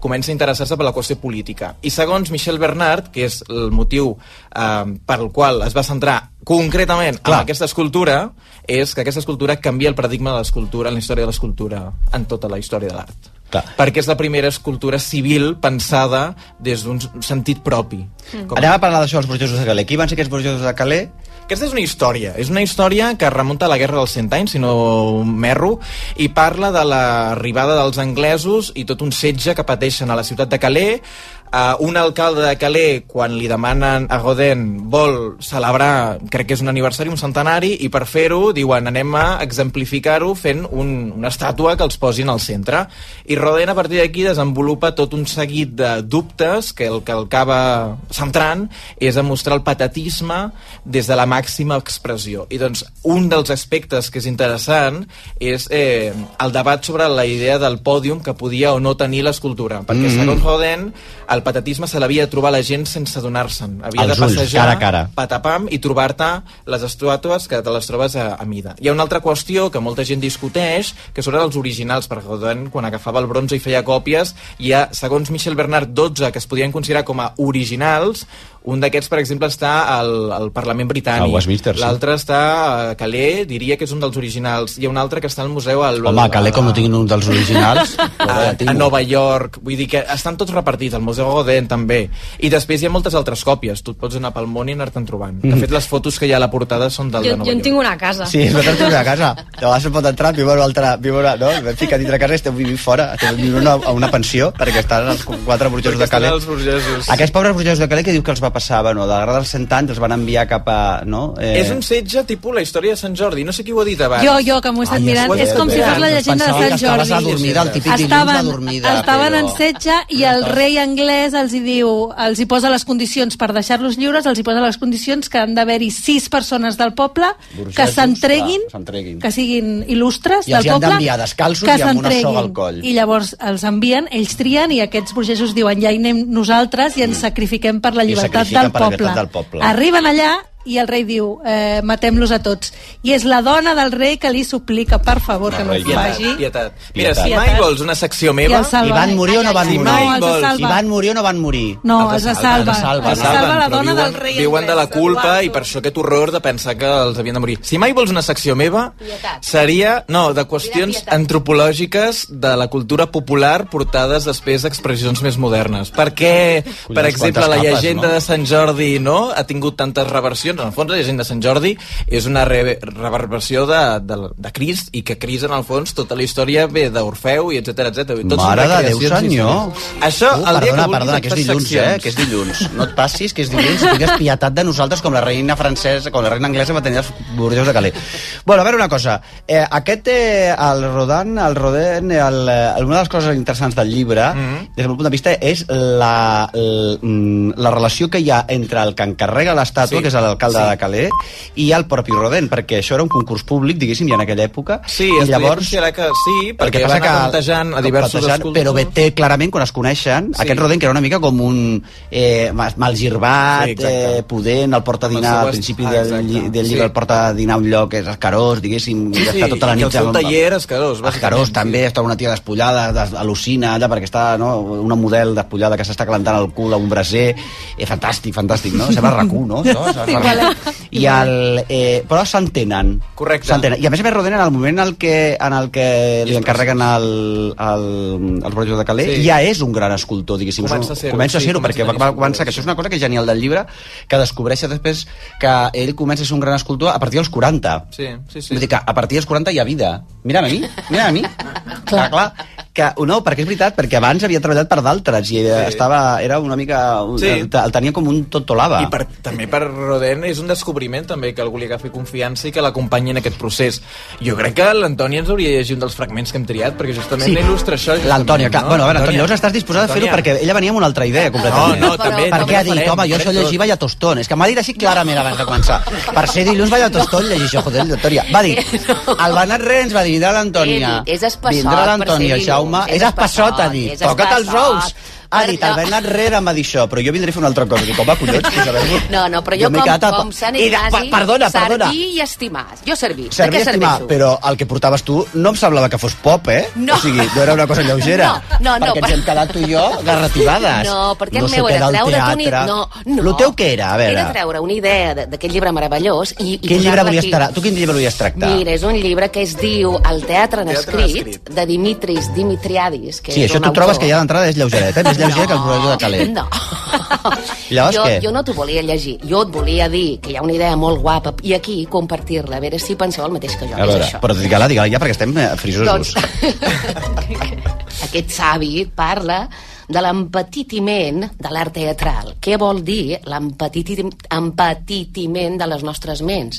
F: comença a interessar-se per la qüestió política. I segons Michel Bernat, que és el motiu eh, pel qual es va centrar concretament en aquesta escultura, és que aquesta escultura canvia el paradigma de l'escultura, en la història de l'escultura, en tota la història de l'art. Perquè és la primera escultura civil pensada des d'un sentit propi. Com-
C: Anem a parlar d'això dels burgesos de Calais. Qui van ser aquests burgesos de Calais?
F: Aquesta és una història, és una història que remunta a la Guerra dels Cent Anys, si no m'erro, i parla de l'arribada dels anglesos i tot un setge que pateixen a la ciutat de Calais. Uh, un alcalde de Calais, quan li demanen a Godin, vol celebrar, crec que és un aniversari, un centenari, i per fer-ho diuen anem a exemplificar-ho fent un, una estàtua que els posin al centre. I Rodin a partir d'aquí desenvolupa tot un seguit de dubtes que el que el acaba centrant és a mostrar el patatisme des de la màxima expressió. I doncs un dels aspectes que és interessant és eh, el debat sobre la idea del pòdium que podia o no tenir l'escultura. Perquè
C: Mhm.
F: segons Rodin, el patatisme se l'havia de trobar la gent sense adonar-se'n. Havia
C: Als
F: de
C: ulls,
F: passejar
C: cara a cara.
F: patapam i trobar-te les estàtues que te les trobes a, a mida. Hi ha una altra qüestió que molta gent discuteix, que són els originals, perquè Rodin, quan agafava el bronze i feia còpies, hi ha, segons Michel Bernard, 12 que es podien considerar com a originals, un d'aquests, per exemple, està al, al Parlament Britànic.
C: Al Westminster, sí.
F: L'altre està a Calais, diria que és un dels originals. Hi ha un altre que està al museu... Al,
C: Home, Calais, com no tinguin un dels originals...
F: a, a Nova York, vull dir que estan tots repartits, al Museu Godin també i després hi ha moltes altres còpies, tu et pots anar pel món i anar-te'n trobant, de
C: Mhm.
F: fet les fotos que hi ha a la portada són del
H: Jo,
F: de Nova
H: jo en
F: York
H: tinc una a casa.
C: Sí, és veritat que és una casa. De vegades pot entrar, viu a una altra... Viu a una, no? Em fica dintre casa i estem vivint fora. Estem vivint a una, a una pensió, perquè estan els quatre burgesos de
F: Estan
C: Calais.
F: els burgesos.
C: Aquests pobres burgesos de Calais que diu que els va passar, bueno, de la guerra dels 100 anys els van enviar cap a... No?
F: Eh... És un setge tipus la història de Sant Jordi, no sé qui ho ha dit abans.
J: Jo, jo, que m'ho he estat
F: Ai,
J: mirant,
F: escolta,
J: és com si fos la
F: doncs
J: llegenda
F: pensava
J: de
F: que
J: Sant
F: estaves
J: Jordi.
F: adormida, el típic dilluns
J: estaven,
F: adormida,
J: estaven
F: però-
J: en setge i el rei anglès els hi diu, els hi posa les condicions per deixar-los lliures, els hi posa les condicions que han d'haver-hi sis persones del poble que
C: Burgesos,
J: s'entreguin,
C: clar, s'entreguin.
J: que siguin il·lustres
C: I
J: del
C: els hi han
J: poble,
C: d'enviar descalços
J: que
C: i amb una
J: s'entreguin.
C: soga al coll.
J: I llavors els envien, ells trien i aquests burgesos diuen ja hi anem nosaltres i ens sacrifiquem per la
C: I
J: llibertat,
C: sacrifiquen
J: del,
C: per la
J: poble.
C: llibertat del poble.
J: Arriben allà i el rei diu, eh, matem-los a tots. I és la dona del rei que li suplica, per favor, que no ho
F: Pietat,
J: faci.
F: pietat. Mira,
J: Pietat.
F: si mai
J: Pietat.
F: vols una secció
J: I
F: meva...
J: el salven.
C: I van morir o no van
J: Ai, ai, ai.
C: morir?
J: No, els de
C: I
J: salva.
C: van morir o no van morir?
J: No, els de salva.
C: Els de salva.
J: Els de salva la
F: però
J: dona
F: viuen,
J: del rei
F: Viuen de la
J: anglès,
F: culpa
J: Eduardo.
F: i per això aquest horror de pensar que els havien de morir. Si mai vols una secció meva, seria no, de qüestions antropològiques de la cultura popular portades després a expressions més modernes. Per què, per
C: quantes
F: exemple, la
C: capes,
F: llegenda
C: no?
F: de Sant Jordi no ha tingut tantes reversions? Nacions, en el fons és gent de Sant Jordi, és una re reverberació de, de, de Crist, i que Crist, en el fons, tota la història ve d'Orfeu, i etc etc.
C: Mare de Déu, senyor.
F: Això,
C: Uh,
F: el dia
C: perdona,
F: Oh, que
C: perdona, que
F: vulguis, et
C: és
F: fas
C: dilluns,
F: seccions.
C: eh? Que és dilluns. No et passis, que és dilluns. Tingues pietat de nosaltres com la reina francesa, com la reina anglesa va tenir els burgeos de Calais. Bueno, a veure una cosa. Eh, aquest, eh, el Rodan, el Roden, el, eh, una de les coses interessants del llibre, mm
F: Mhm.
C: -hmm. des del meu punt de vista, és la, l- mm, la relació que hi ha entre el que encarrega l'estàtua,
F: Sí.
C: sí. que és l'alcalde
F: Sí.
C: sí. de Calais, i el propi Roden, perquè això era un concurs públic, diguéssim, i en aquella època.
F: Sí,
C: i
F: es llavors...
C: llavors
F: considerar que sí, perquè,
C: passa
F: van anar plantejant a diversos
C: plantejant,
F: escultors.
C: Però bé, té clarament, quan es coneixen,
F: Sí.
C: sí. aquest Roden, que era una mica com un eh, ma-
F: Sí,
C: malgirbat, sí,
F: exacte.
C: eh, pudent, el porta a dinar
F: Amb el seu
C: al principi
F: est- ah,
C: del,
F: exacte.
C: lli- del
F: Sí.
C: llibre, el porta a dinar a un lloc que és escarós, diguéssim,
F: Sí,
C: sí,
F: sí,
C: està tota la
F: i
C: nit...
F: el seu
C: amb-
F: taller era escarós,
C: Escarós també, està una tia despullada, des- al·lucina allà perquè està no, una model despullada que s'està calentant el cul a un braser. Eh, fantàstic, fantàstic, no? Sembla RAC1, no? Això, Sembla
F: Igualet.
C: I el, eh, però s'entenen.
F: Correcte.
C: S'entenen. I a més a més roden en el moment en el que, en el que li encarreguen el, el, el Roger de Calais,
F: Sí.
C: sí. ja és un gran escultor, diguéssim.
F: Comença a
C: ser
F: ser-ho,
C: comença a
F: sí,
C: ser-ho,
F: comença
C: perquè
F: a
C: va,
F: tenir
C: va
F: escultors,
C: començar, que això és una cosa que és genial del llibre, que descobreix després que ell comença a ser un gran escultor a partir dels 40.
F: Sí, sí, sí.
C: Vull dir que a partir dels 40 hi ha vida. Mira'm a mi, mira'm a mi. clar, clar. Que, oh, no, perquè és veritat, perquè abans havia treballat per d'altres i eh, estava, era una mica...
F: Sí.
C: Sí. El, el tenia com un totolava.
F: I per, també per Rodin és un descobriment també que algú li agafi confiança i que l'acompanyi en aquest procés. Jo crec que l'Antoni ens hauria de llegir un dels fragments que hem triat perquè justament
C: Sí.
F: sí. il·lustra això. justament,
C: L'Antònia, clar.
F: no?
C: Bueno, a veure, Antònia,
F: Antònia.
C: llavors estàs disposada a fer-ho
F: Antònia.
C: perquè ella venia amb una altra idea, completament.
F: No, no, també, també
C: Perquè ha
F: ho
C: dit,
F: farem,
C: home, jo això
F: farem tot.
C: llegia Vallatostón. És que m'ha dit així clarament abans de començar. Per ser dilluns Vallatostón, llegir això, joder, Antònia. Va dir, el Bernat Rens va dir, vindrà l'Antònia.
G: He dit, és espassot
C: Vindrà
G: per ser
C: l'Antònia,
G: dilluns,
C: Jaume.
G: és
C: És espassot, ha dit.
G: és
C: Toca't els
G: espassot.
C: ous. Ha dit, el Bernat Rera em va dir això, però jo vindré a fer una altra cosa. Dic, home, collons, pues a veure...
G: No, no, però jo,
C: Jo m'he
G: com,
C: quedat a-
G: com Sant
C: I de-
G: Ignasi...
C: per- perdona, perdona.
G: Servir i estimar. Jo servir. De
C: Servir,
G: què
C: estimar,
G: serveixo?
C: però el que portaves tu no em semblava que fos pop, eh?
G: No.
C: O sigui, no era una cosa lleugera.
G: No, no, no,
C: perquè ens
G: per-
C: hem quedat tu i jo garrativades.
G: No, perquè el
C: sé
G: meu
C: què
G: era
C: el
G: treure una...
C: teatre.
G: No, no.
C: El teu què era? A veure.
G: Era treure una idea de- d'aquest llibre meravellós i... i
C: Quin llibre
G: posar-la
C: volies
G: aquí.
C: tractar? Tu quin llibre volies tractar?
G: Mira, és un llibre que es diu El teatre en
C: Teatre en
G: escrit, de Dimitris Dimitriadis, que
C: sí,
G: és
C: això
G: un
C: tu trobes
G: autor.
C: que ja d'entrada és lleugeret, eh? Més lleuger que el Brollo de Calais.
G: No.
C: Llavors,
G: jo,
C: què?
G: jo no t'ho volia llegir. Jo et volia dir que hi ha una idea molt guapa i aquí compartir-la, a veure si penseu el mateix que jo.
C: A
G: que és
C: veure,
G: això. Doncs-
C: però digue-la, digue-la ja, perquè estem eh, frisosos.
G: Aquest savi parla de l'empetitiment de l'art teatral. Què vol dir l'empetitim- empetitiment de les nostres ments?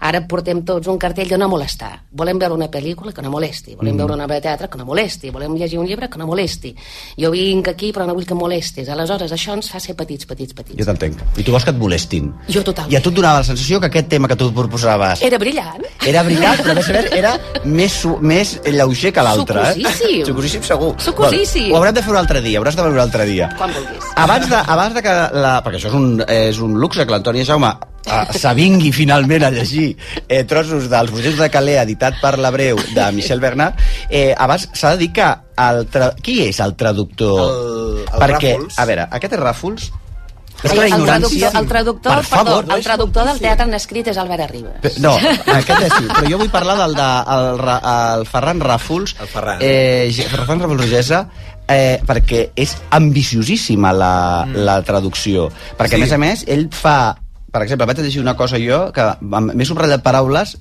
G: Ara portem tots un cartell de no molestar. Volem veure una pel·lícula que no molesti, volem
O: Mm.
G: veure una obra de teatre que no molesti, volem llegir un llibre que no molesti. Jo vinc aquí però no vull que em molestis. Aleshores, això ens fa ser petits, petits, petits.
C: Jo t'entenc. I tu vols que et molestin.
G: Jo totalment.
C: I a tu et donava la sensació que aquest tema que tu proposaves
G: Era brillant.
C: era brillant, però a més a més era més, su- més lleuger que l'altre.
G: Sucosíssim.
C: Eh? Sucosíssim, segur.
G: Sucosíssim.
C: Bueno, ho haurem de fer un altre dia, hauràs de veure un altre dia.
G: Quan vulguis.
C: Abans de, abans de que... La, perquè això és un, és un luxe, que l'Antoni Jaume eh, s'avingui finalment a llegir eh, trossos dels Burgesos de Calais editat per l'Abreu de Michel Bernard, eh, abans s'ha de dir que el tra... qui és el traductor?
F: El- el
C: perquè,
F: Ràfols.
C: a veure, aquest és Ràfols? És
G: Ai,
C: una
G: el
C: ignorància.
G: traductor, el traductor,
C: Per favor.
G: perdó, el traductor del teatre en escrit és Albert Arriba.
C: Pe- No, aquest és sí, però jo vull parlar del de, el, Ra- el Ferran Ràfols, el Ferran. Eh, Ge- Ferran Ràfols Rogesa, eh, perquè és ambiciosíssima la, mm. la traducció. Perquè, sí. a
F: Sí.
C: més a més, ell fa... Per exemple, vaig a llegir una cosa jo que amb- m'he subratllat paraules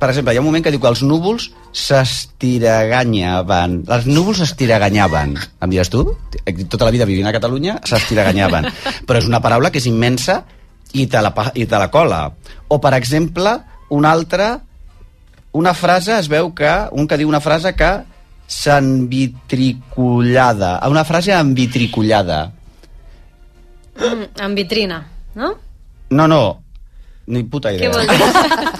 C: per exemple, hi ha un moment que diu que els núvols s'estiraganyaven. Els núvols s'estiraganyaven. Em diràs tu? Tota la vida vivint a Catalunya s'estiraganyaven. Però és una paraula que és immensa i te la, pa- i te la cola. O, per exemple, una altra... Una frase, es veu que... Un que diu una frase que s'envitricullada. Una frase envitricullada.
H: Mm, en vitrina, no?
C: No, no, ni puta idea.
H: Què vol dir?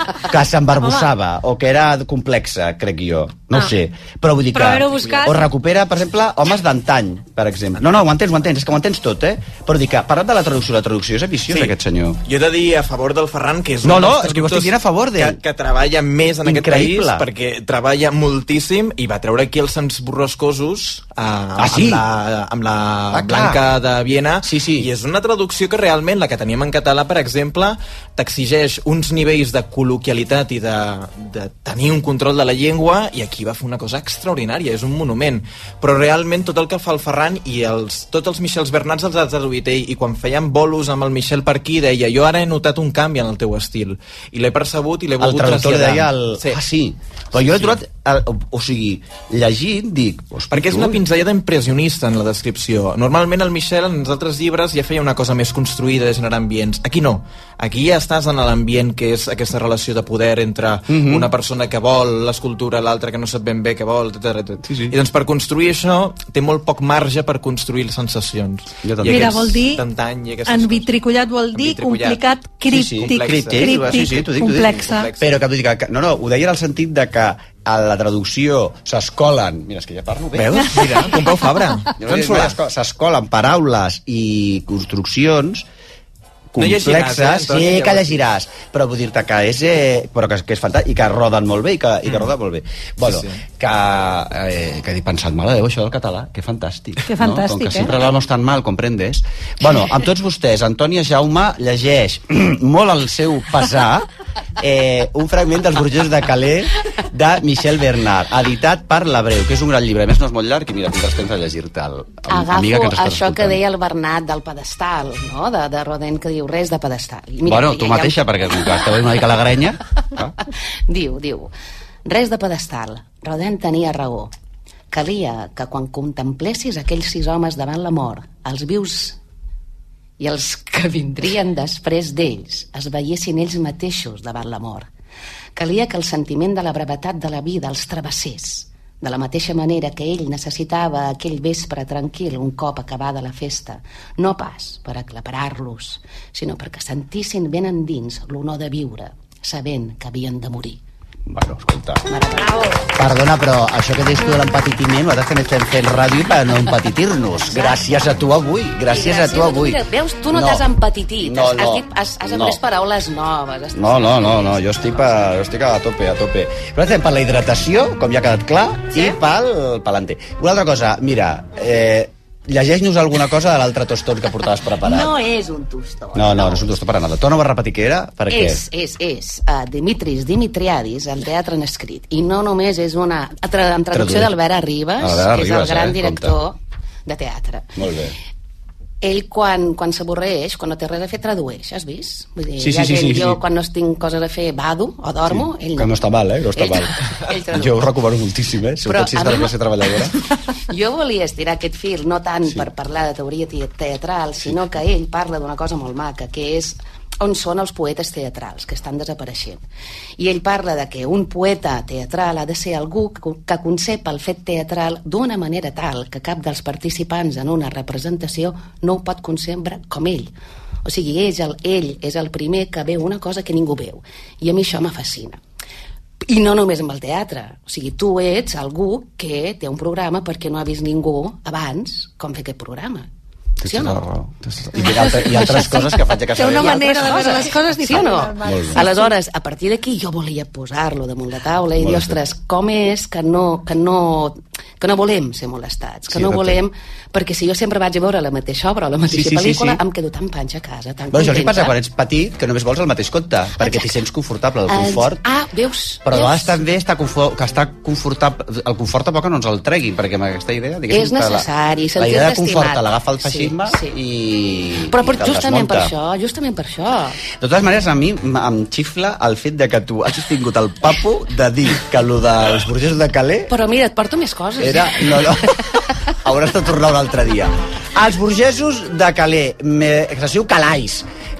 C: que s'embarbussava o que era complexa, crec jo. No
H: Ah.
C: ho sé. Però vull dir
H: Però haver-ho
C: que...
H: buscat-
C: O recupera, per exemple, homes d'antany, per exemple. No, no, ho entens, ho entens, és que ho entens tot, eh? Però dic que, parlant de la traducció, la traducció és ambiciós, sí. aquest senyor.
F: Jo he de dir a favor del Ferran, que és
C: No,
F: un
C: no, és
F: dels
C: que ho estic
F: traductors
C: dient a favor d'ell.
F: Que, que treballa més en
C: Increïble.
F: aquest país, perquè treballa moltíssim, i va treure aquí els Sants Borrascosos eh, ah,
C: sí?
F: amb la, amb la
C: Ah,
F: ah,
C: clar.
F: Blanca de Viena, sí, sí. i és una traducció que realment, la que teníem en català, per exemple, t'ex- exigeix uns nivells de col·loquialitat i de, de tenir un control de la llengua i aquí va fer una cosa extraordinària, és un monument. Però realment tot el que fa el Ferran i els, tots els Michels Bernats els ha traduït ell i quan feien bolos amb el Michel per aquí deia jo ara he notat un canvi en el teu estil i l'he percebut i l'he
C: El
F: volgut
C: traductor li
F: traslladar.
C: deia el... Sí. Ah, sí. Però jo he trobat... El, o sigui, llegint, dic...
F: Perquè és una pinzellada impressionista en la descripció. Normalment el Michel en els altres llibres ja feia una cosa més construïda de generar ambients. Aquí no. Aquí ja estàs en l'ambient que és aquesta relació de poder entre
C: Mhm.
F: una persona que vol l'escultura, l'altra que no sap ben bé què vol, etc. Sí, sí. I doncs per construir això té molt poc marge per construir les sensacions. Jo
J: també. Mira, vol dir
F: Tantany, i aquestes
J: En vitricollat vol dir
F: Envitricollat.
J: complicat, críptic,
F: Complex.
J: críptic,
C: sí, sí, t'ho dic, t'ho dic.
J: complexa.
C: Però que t'ho dic, que, no, no, ho deia en el sentit de que a la traducció s'escolen... Mira, és que ja parlo bé.
F: Veus? Mira, compreu Fabra.
C: Jo no dic
F: Consolar.
C: mai, S'escolen paraules i construccions
F: No
C: complexes,
F: llegiràs, eh,
C: no
F: Antoni,
C: sí que
F: llavors.
C: llegiràs, però vull dir-te que és, eh, però que, que és fantàstic i que roden molt bé i que, i que
F: Mm.
C: roden molt bé. Bueno,
F: Sí,
C: sí,
F: sí.
C: sí. que, eh, que he pensat, mare de Déu, això del català, que fantàstic.
J: Que
C: no?
J: fantàstic,
C: Com que
J: eh?
C: sempre l'hablamos tan mal, comprendes? Bueno, amb tots vostès, Antònia Jaume llegeix molt al seu pesar eh, un fragment dels Burgesos de Calais de Michel Bernard, editat per l'Abreu, que és un gran llibre. A més, no és molt llarg i mira, tindràs temps de llegir-te. el- amb-
G: Agafo
C: Amiga que ens
G: això
C: estàs
G: que
C: escoltant.
G: deia el Bernat del pedestal, no? de, de Rodin, que diu res de pedestal. Mira,
C: bueno,
G: ja-
C: tu
G: ja-
C: mateixa, perquè com que estava una mica a la grenya...
G: Diu, diu, res de pedestal. Rodin tenia raó. Calia que quan contemplessis aquells sis homes davant la mort, els vius i els que vindrien després d'ells es veiessin ells mateixos davant la mort. Calia que el sentiment de la brevetat de la vida els travessés, de la mateixa manera que ell necessitava aquell vespre tranquil un cop acabada la festa, no pas per aclaparar-los, sinó perquè sentissin ben endins l'honor de viure, sabent que havien de morir.
C: Bueno, escolta. Perdona, però això que deies tu de l'empatitiment, nosaltres també estem fent ràdio per no empatitir-nos. Gràcies a tu avui, gràcies a tu avui.
G: Mira, veus, tu no,
C: No.
G: t'has empatitit,
C: No,
G: has,
C: no.
G: has, dit- has, has
C: No.
G: après paraules noves. Has...
C: No, no, no, no, jo estic, a, jo estic a tope, a tope. Però estem per la hidratació, com ja ha quedat clar, sí? i pel pelante. Una altra cosa, mira, eh, llegeix-nos alguna cosa de l'altre tostor que portaves preparat.
G: No és un tostó.
C: No, no, no és un tostor per a nada. Tu no vas repetir què era? Per què?
G: És, és, és. Uh, Dimitris Dimitriadis, el teatre en escrit. I no només és una... a Tra en traducció
C: Traduït.
G: d'Albert Arribas,
C: Albert
G: que és el
C: Arribas,
G: gran
C: eh?
G: director de teatre.
C: Molt bé.
G: Ell, quan, quan s'avorreix, quan no té res a fer, tradueix, has vist? Vull dir,
C: Sí,
G: hi ha
C: sí, sí,
G: gent,
C: sí,
G: jo,
C: sí.
G: quan no tinc coses a fer, bado o dormo, ell
C: Que no està mal, eh? No està
G: Ell-
C: mal.
G: ell tradueix.
C: Jo ho recomano moltíssim, eh?
G: Però
C: Sobretot si
G: a
C: és de
G: mi
C: la classe treballadora.
G: Jo volia estirar aquest fil, no tant sí. per parlar de teoria te- teatral, sinó que ell parla d'una cosa molt maca, que és on són els poetes teatrals, que estan desapareixent. I ell parla de que un poeta teatral ha de ser algú que co- que concep el fet teatral d'una manera tal que cap dels participants en una representació no ho pot concebre com ell. O sigui, és el, ell és el primer que veu una cosa que ningú veu. I a mi això me fascina. I no només amb el teatre. O sigui, tu ets algú que té un programa perquè no ha vist ningú abans com fer aquest programa. Sí o no?
C: I, altre, I altres coses que faig a casa
J: Té una
C: meva.
J: manera de veure les coses
G: sí o no?
J: diferent, Marc. Molt bé.
G: Aleshores, a partir d'aquí jo volia posar-lo damunt la taula i
J: Molt
G: dir,
J: bé.
G: ostres, com és que no, que no, que no volem ser molestats, que
C: Sí,
G: no
C: t'entenc.
G: volem... Perquè si jo sempre vaig a veure la mateixa obra o la mateixa
C: Sí, sí, sí,
G: pel·lícula,
C: sí.
G: em quedo tan panxa a casa, tan
C: Bueno, això els hi
G: contenta.
C: passa quan ets petit, que només vols el mateix conte, perquè t'hi sents confortable, el
G: Ens-
C: confort.
G: Ah, veus?
C: Però a
G: veus?
C: vegades també està confort, que està confortable, el confort tampoc no ens el treguin, perquè amb aquesta idea... diguéssim,
G: És
C: que la-
G: necessari,
C: La
G: sentir-te
C: idea de confort
G: estimat.
C: te l'agafa el
G: Sí,
C: feixisme
G: sí.
C: i...
G: Però per,
C: i te'l
G: justament per
C: desmunta.
G: això, justament per això.
C: De totes maneres, a mi m- em xifla el fet de que tu hagis tingut el papo de dir que lo dels burgesos de Calais
G: Però mira, et porto més coses.
C: Era... No, no. Hauràs de tornar un altre dia. Els burgesos de Calais, me, que es diu Calais.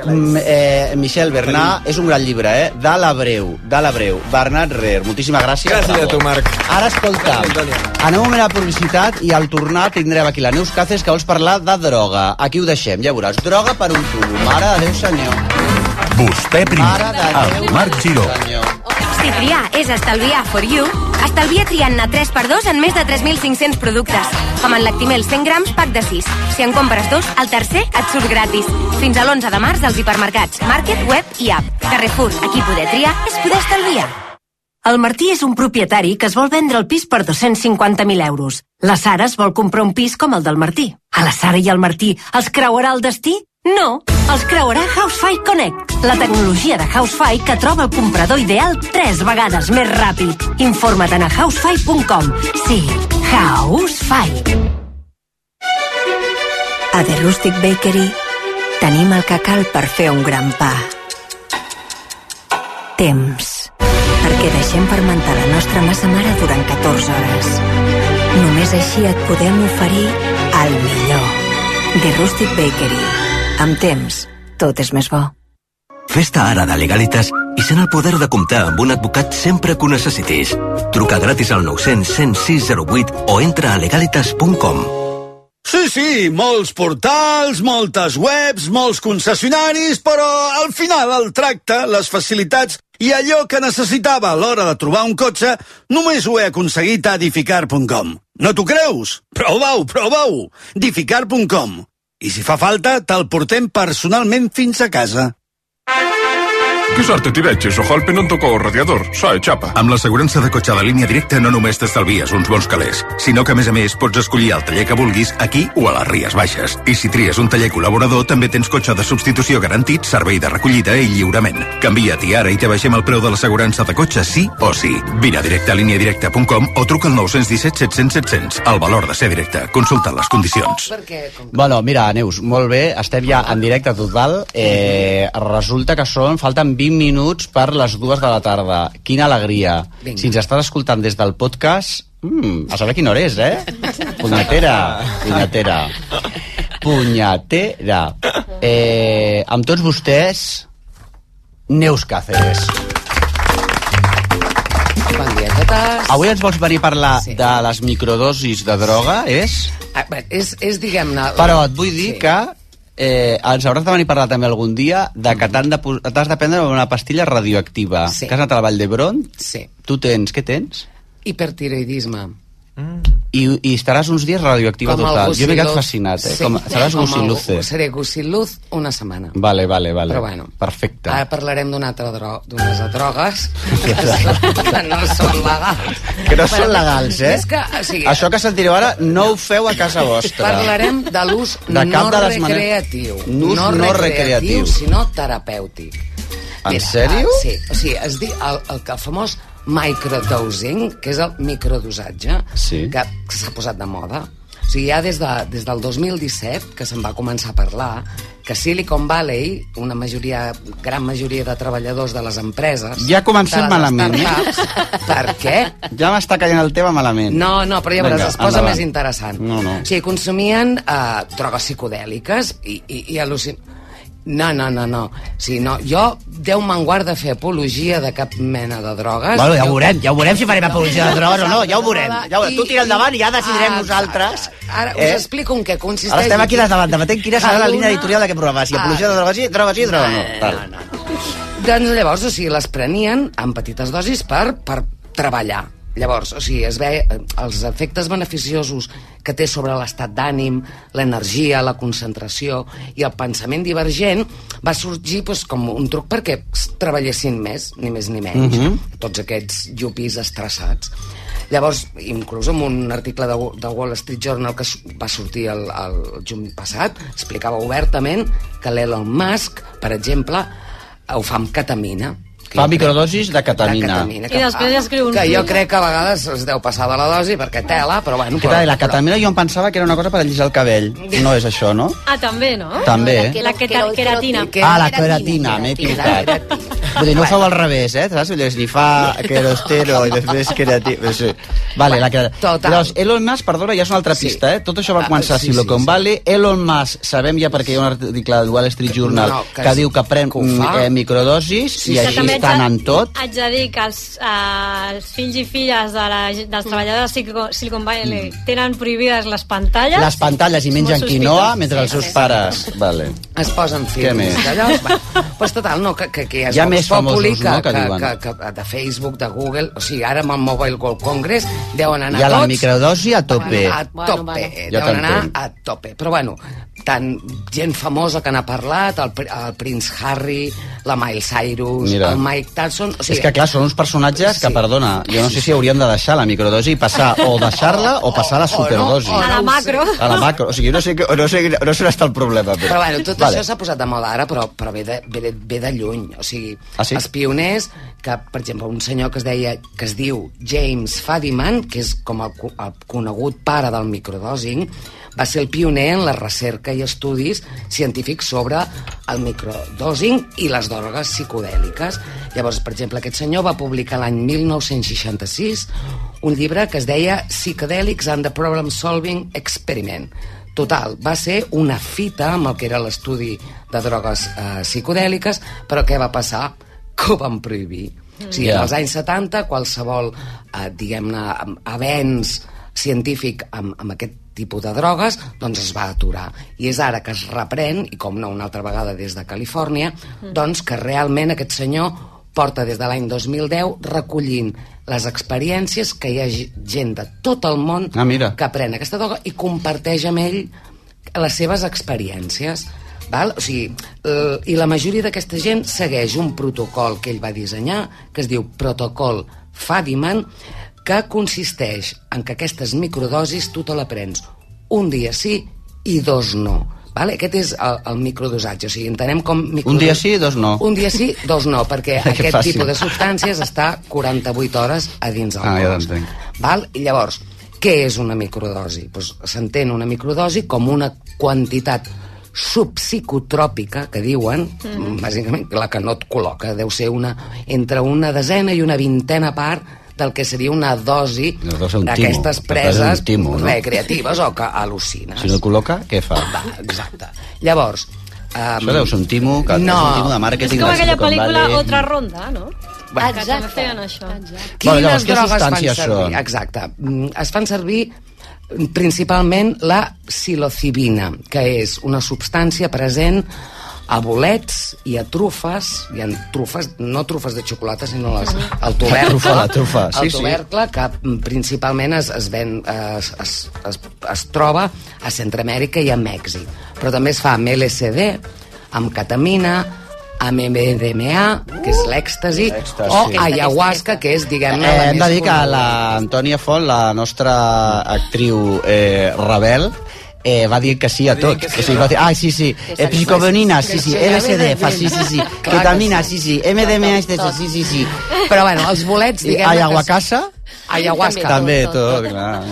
C: M, eh, Michel Bernat és un gran llibre, eh? De l'Abreu, de l'Abreu. Bernat Rer, moltíssimes gràcies.
F: Gràcies a
C: Bravo.
F: tu, Marc.
C: Ara, escolta, anem un moment a publicitat i al tornar tindrem aquí la Neus Caces que vols parlar de droga. Aquí ho deixem, ja veuràs. Droga per un tubo. Mare de Déu, senyor.
P: Vostè primer,
C: Mare de
P: el Marc Giró.
L: Si triar és estalviar for you, estalvia triant-ne 3x2 en més de 3.500 productes. Com en l'actimel 100 grams, pack de 6. Si en compres dos, el tercer et surt gratis. Fins a l'11 de març als hipermercats, market, web i app. Carrefour, aquí poder triar és poder estalviar.
Q: El Martí és un propietari que es vol vendre el pis per 250.000 euros. La Sara es vol comprar un pis com el del Martí. A la Sara i al Martí els creuarà el destí? No, els creuarà Housefy Connect, la tecnologia de Housefy que troba el comprador ideal tres vegades més ràpid. Informa't en a housefy.com. Sí, Housefy.
R: A The Rustic Bakery tenim el que cal per fer un gran pa. Temps. Perquè deixem fermentar la nostra massa mare durant 14 hores. Només així et podem oferir el millor. The Rustic Bakery. Amb temps, tot és més bo.
S: Fes-te ara de Legalitas i sent el poder de comptar amb un advocat sempre que ho necessitis. Truca gratis al 900 106 08 o entra a legalitas.com.
T: Sí, sí, molts portals, moltes webs, molts concessionaris, però al final el tracte, les facilitats i allò que necessitava a l'hora de trobar un cotxe només ho he aconseguit a edificar.com. No t'ho creus? Prova-ho, prova-ho! edificar.com. I si fa falta, te'l portem personalment fins a casa.
U: Que sort et hi veig, això golpe no em toca el radiador, soy xapa.
E: Amb l'assegurança de cotxe de línia directa no només t'estalvies uns bons calés, sinó que, a més a més, pots escollir el taller que vulguis aquí o a les Ries Baixes. I si tries un taller col·laborador, també tens cotxe de substitució garantit, servei de recollida i lliurament. Canvia-t'hi ara i te baixem el preu de l'assegurança de cotxe sí o sí. Vine a directe a líniadirecta.com o truca al 917 700 700. El valor de ser directe. Consulta les condicions.
C: Bueno, mira, Neus, molt bé, estem ja en directe total. Eh, resulta que són, falten 20 minuts per les dues de la tarda. Quina alegria.
K: Vinga.
C: Si ens estàs escoltant des del podcast, mm, a saber quina hora és, eh? Punyatera, punyatera. Punyatera. Eh, amb tots vostès, Neus Cáceres.
K: Bon dia a totes.
C: Avui ens vols venir a parlar sí. de les microdosis de droga, és?
K: Ah, bé, és, és diguem-ne...
C: Però et vull dir sí. que eh, ens hauràs de venir a parlar també algun dia de que t'han de pos- t'has de, de prendre una pastilla radioactiva. Sí. Que has anat a la Vall d'Hebron?
K: Sí.
C: Tu tens, què tens?
K: Hipertiroidisme.
C: I, i estaràs uns dies radioactiva
K: Com el
C: total. Jo m'he quedat
K: Gusiluz.
C: fascinat, eh?
K: Sí.
C: Com, seràs
K: Com el-
C: gusiluce.
K: Seré gusiluz una setmana.
C: Vale, vale, vale.
K: Però bueno.
C: Perfecte.
K: Ara parlarem d'una altra dro d'unes drogues que, que no són legals.
C: Que no són legals, eh?
K: És que, o sigui,
C: Això que sentireu ara no ho feu a casa vostra.
K: Parlarem de l'ús
C: De cap
K: no
C: de les maneres.
K: recreatiu.
C: L'ús no recreatiu.
K: sinó terapèutic.
C: En
K: Mira,
C: sèrio?
K: ah, sí, o sigui, es di, el, el, el famós microdosing, que és el microdosatge,
C: sí.
K: que, que s'ha posat de moda. O sigui, ja des, de, des del 2017, que se'n va començar a parlar, que Silicon Valley, una majoria, gran majoria de treballadors de les empreses...
C: Ja comencem
K: de les
C: malament, eh?
K: startups, Per què?
C: Ja m'està caient el tema malament.
K: No, no, però ja veuràs,
C: Vinga,
K: es posa
C: endavant.
K: més interessant.
C: No, no.
K: O sigui, consumien eh, drogues psicodèliques i, i, i al·lucin... No, no, no, no. O sigui, no. Jo, Déu me'n guarda fer apologia de cap mena de drogues.
V: Bueno, ja ho
K: Jo-
V: veurem, ja ho veurem si farem apologia de drogues o no, ja ho veurem. Ja ho veurem. Tu tira endavant i ja decidirem
K: Ah,
V: nosaltres.
K: Ara us
V: Eh?
K: explico en què consisteix.
V: Ara estem aquí des davant, debatent quina serà la
K: Cada
V: línia
K: una-
V: editorial d'aquest programa.
C: Ah.
V: Si apologia de drogues sí, drogues sí, drogues
C: Eh.
V: no. Tal.
K: Doncs llavors, o sigui, les prenien en petites dosis per, per treballar. Llavors, o sigui, es ve eh, els efectes beneficiosos que té sobre l'estat d'ànim, l'energia, la concentració i el pensament divergent va sorgir doncs, com un truc perquè s- treballessin més, ni més ni menys,
D: Mhm.
K: tots aquests llupis estressats. Llavors, inclús en un article de, de Wall Street Journal que s- va sortir el, el juny passat, explicava obertament que l'Elon Musk, per exemple, ho fa amb ketamina. Que
C: Fa
K: jo crec-
C: microdosis de
K: de
C: ketamina.
K: ketamina,
H: I després
K: ah,
H: escriu un
K: Que jo
H: tuit.
K: crec que a vegades es deu passar de la dosi perquè tela, però bueno...
C: Que
K: però,
C: tal, la ketamina jo em pensava que era una cosa per allisar el cabell. No és això, no?
H: Ah, també, no?
C: També, eh?
H: La que queratina.
C: Ah, la queratina, m'he equivocat. Vull dir, no ho feu al revés, eh? Saps? Vull dir, ni fa querostero i després queratina. Sí. Vale, la queratina.
K: Total.
C: Llavors, Elon Musk, perdona, ja és una altra pista, eh? Tot això va
K: Ah,
C: començar a
K: sí, sí,
C: Silicon Valley. Elon Musk, sabem ja perquè hi ha un article del Wall Street Journal
K: No,
C: que,
K: que sí,
C: diu que pren
K: ho fa.
C: eh, microdosis i
K: Sí, sí,
C: així
K: també
C: estan en tot.
H: Haig de dir que els, eh, els fills i filles de la, dels treballadors de Silicon- Silicon Valley tenen prohibides les pantalles.
C: Mm. Les pantalles i
H: És
C: mengen
H: molt
C: quinoa
H: sospitós.
C: mentre els seus pares... Vale.
K: Es posen
C: Què
K: films
C: més?
K: d'allò. Doncs pues total, no, que, que, que ja es
C: Hi ha
K: veu
C: més més famosos,
K: que,
C: no?, que
K: que,
C: diuen.
K: que, que, de Facebook, de Google, o sigui, ara amb el Mobile World Congress deuen anar
C: I a la
K: tots...
C: microdosi a tope.
K: A
C: Bueno,
K: tope,
C: bueno. Jo
K: deuen anar
C: t'entenc.
K: a tope. Però bueno, tant gent famosa que n'ha parlat, el, pri- el Prince Harry, la Miles Cyrus,
C: Mira.
K: el Mike Tyson... O
C: Sí.
K: sigui,
C: És que, clar, són uns personatges que, perdona, jo no sé si hauríem de deixar la microdosi i passar o deixar-la o passar a la superdosi.
K: o no, o A la no ho sé. macro.
C: A la macro. O sigui, no sé, que- no sé, no sé on està el problema. Però,
K: Però bueno, tot això s'ha posat de moda ara, però, però ve, de, ve, de, ve de lluny. O sigui,
C: Ah, sí?
K: els pioners, que per exemple un senyor que es deia que es diu James Fadiman, que és com el, co- el conegut pare del microdosing, va ser el pioner en la recerca i estudis científics sobre el microdosing i les drogues psicodèliques. Llavors, per exemple, aquest senyor va publicar l'any 1966 un llibre que es deia Psychedelics and the Problem Solving Experiment. Total, va ser una fita amb el que era l'estudi de drogues eh, psicodèliques, però què va passar? Que ho van prohibir. O sigui,
C: Ja.
K: yeah. als anys 70, qualsevol, eh, diguem-ne, am- avenç científic amb, amb aquest tipus de drogues, doncs es va aturar. I és ara que es reprèn, i com no una altra vegada des de Califòrnia, doncs que realment aquest senyor porta des de l'any 2010 recollint les experiències que hi ha ge- gent de tot el món
C: Ah, mira.
K: que pren aquesta droga i comparteix amb ell les seves experiències. Val? O sigui, eh, I la majoria d'aquesta gent segueix un protocol que ell va dissenyar, que es diu protocol Fadiman, que consisteix en que aquestes microdosis tu te la prens un dia sí i dos no. Val? Aquest és el, el microdosatge, o sigui, entenem com...
C: Un
K: microdos-
C: dia sí, dos no.
K: Un dia sí, dos no, perquè
C: Que
K: aquest
C: fàcil.
K: tipus de substàncies està 48 hores a dins del
C: Ah, ja
K: cos.
C: t'entenc.
K: Val? I llavors, què és una microdosi? Pues, S'entén una microdosi com una quantitat subpsicotròpica, que diuen,
B: Mhm.
K: bàsicament la que no et col·loca, deu ser una, entre una desena i una vintena part del que seria una dosi
C: Una dosi, un timo.
K: d'aquestes
C: Per tant, és un
K: preses
C: timo, no?
K: recreatives o que al·lucines.
C: Si no col·loca, què fa?
K: Exacte. Llavors... Um,
C: Això deu ser un timo, que
K: No.
C: és un timo de màrqueting.
H: És com
C: del
H: aquella
C: Silicon
H: pel·lícula
C: Valley.
H: Otra Ronda, no?
K: Bueno.
H: Que també feien això. Exacte.
K: Quines
C: Bueno, llavors, què
K: drogues fan servir?
C: substàncies són?
K: Exacte. Mm, Es fan servir mm, principalment la psilocibina, que és una substància present a bolets i a trufes, i en trufes, no trufes de xocolata, sinó les, el
C: La
K: tubercle.
C: trufa, la trufa, sí,
K: el
C: sí.
K: tubercle, que mm, principalment es, es, ven, es, es, es, es troba a Centroamèrica i a Mèxic. Però també es fa amb LSD, amb ketamina, amb MDMA, que és l'èxtasi, o
C: sí.
K: ayahuasca, que és, diguem-ne,
C: Eh,
K: la
C: hem
K: més
C: de dir que
K: coneguda.
C: l'Antònia Font, la nostra actriu eh, rebel, eh, va dir que sí a tot. O sigui, va dir, ah, sí, sí, eh, psicobenina, sí, sí, LSD, fa, sí, sí, sí, ketamina, sí, sí, MDMA, sí, sí, sí, sí.
K: Però bueno, els bolets, diguem-ne... que-
C: Ayahuacasa?
K: Ayahuasca.
C: També, tot, clar.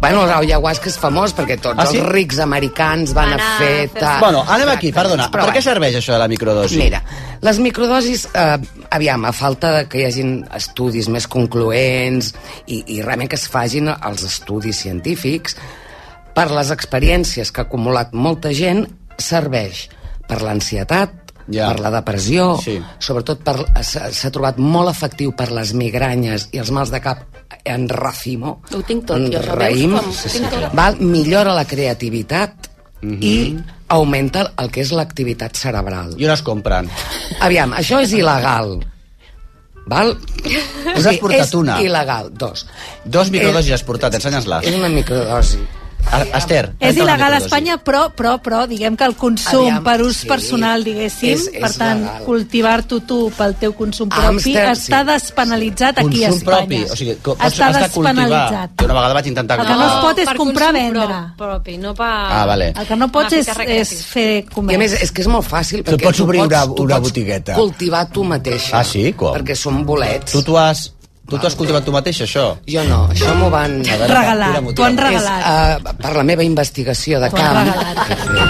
K: Bueno, l'ayahuasca és famós perquè tots
C: Ah, sí?
K: els rics americans van a fer... Ta...
C: Bueno, anem aquí, perdona.
K: Però
C: Per què serveix això de la microdosi?
K: Mira, les microdosis, eh, aviam, a falta de que hi hagin estudis més concloents i, i realment que es fagin els estudis científics, per les experiències que ha acumulat molta gent, serveix per l'ansietat,
C: Ja.
K: per la depressió,
C: Sí.
K: sobretot per- s'ha s'ha trobat molt efectiu per les migranyes i els mals de cap en racimo,
G: Ho tinc tot, jo, veus
K: Mm, raïm,
G: com ho tinc tot?
K: val, millora la creativitat i augmenta el que és l'activitat cerebral.
C: Mhm. I on es compren?
K: Aviam, això és il·legal. Val?
C: Us has portat
K: és
C: una.
K: il·legal, dos.
C: Dos microdosis has portat, ensenyes-les.
K: És una microdosi.
C: A- Esther,
J: És
C: tanca la
J: il·legal a
C: microdosi.
J: Espanya, però, però, però, diguem que el consum
K: Aviam,
J: per ús
K: sí.
J: personal, diguéssim,
K: És- és
J: per tant,
K: legal.
J: cultivar-t'ho tu pel teu consum propi,
K: Amsterdam, sí.
J: està despenalitzat aquí a
C: Consum
J: Espanya.
C: propi, o sigui, que pots,
J: Està
C: has de cultivar.
J: despenalitzat.
C: Jo una vegada vaig intentar...
J: El que no es pot és
H: per
J: comprar
H: consum
J: vendre.
H: pro- propi, no pa...
C: Ah, vale.
J: El que no pots és, és fer
K: I
J: comerç.
K: a més, és que és molt fàcil.
C: Tu
K: perquè
C: pots obrir una,
K: tu
C: una
K: pots
C: botigueta.
K: Cultivar tu mateixa.
C: Ah, sí? Com?
K: Perquè són bolets.
C: Tu t'ho has... Tu t'ho has cultivat tu mateix, això?
K: Jo no, això m'ho van...
C: A veure, Regalat, tira-m'ho, t'ho han tira-m'ho.
K: És, uh, per la meva investigació de
J: T'ho han
K: camp.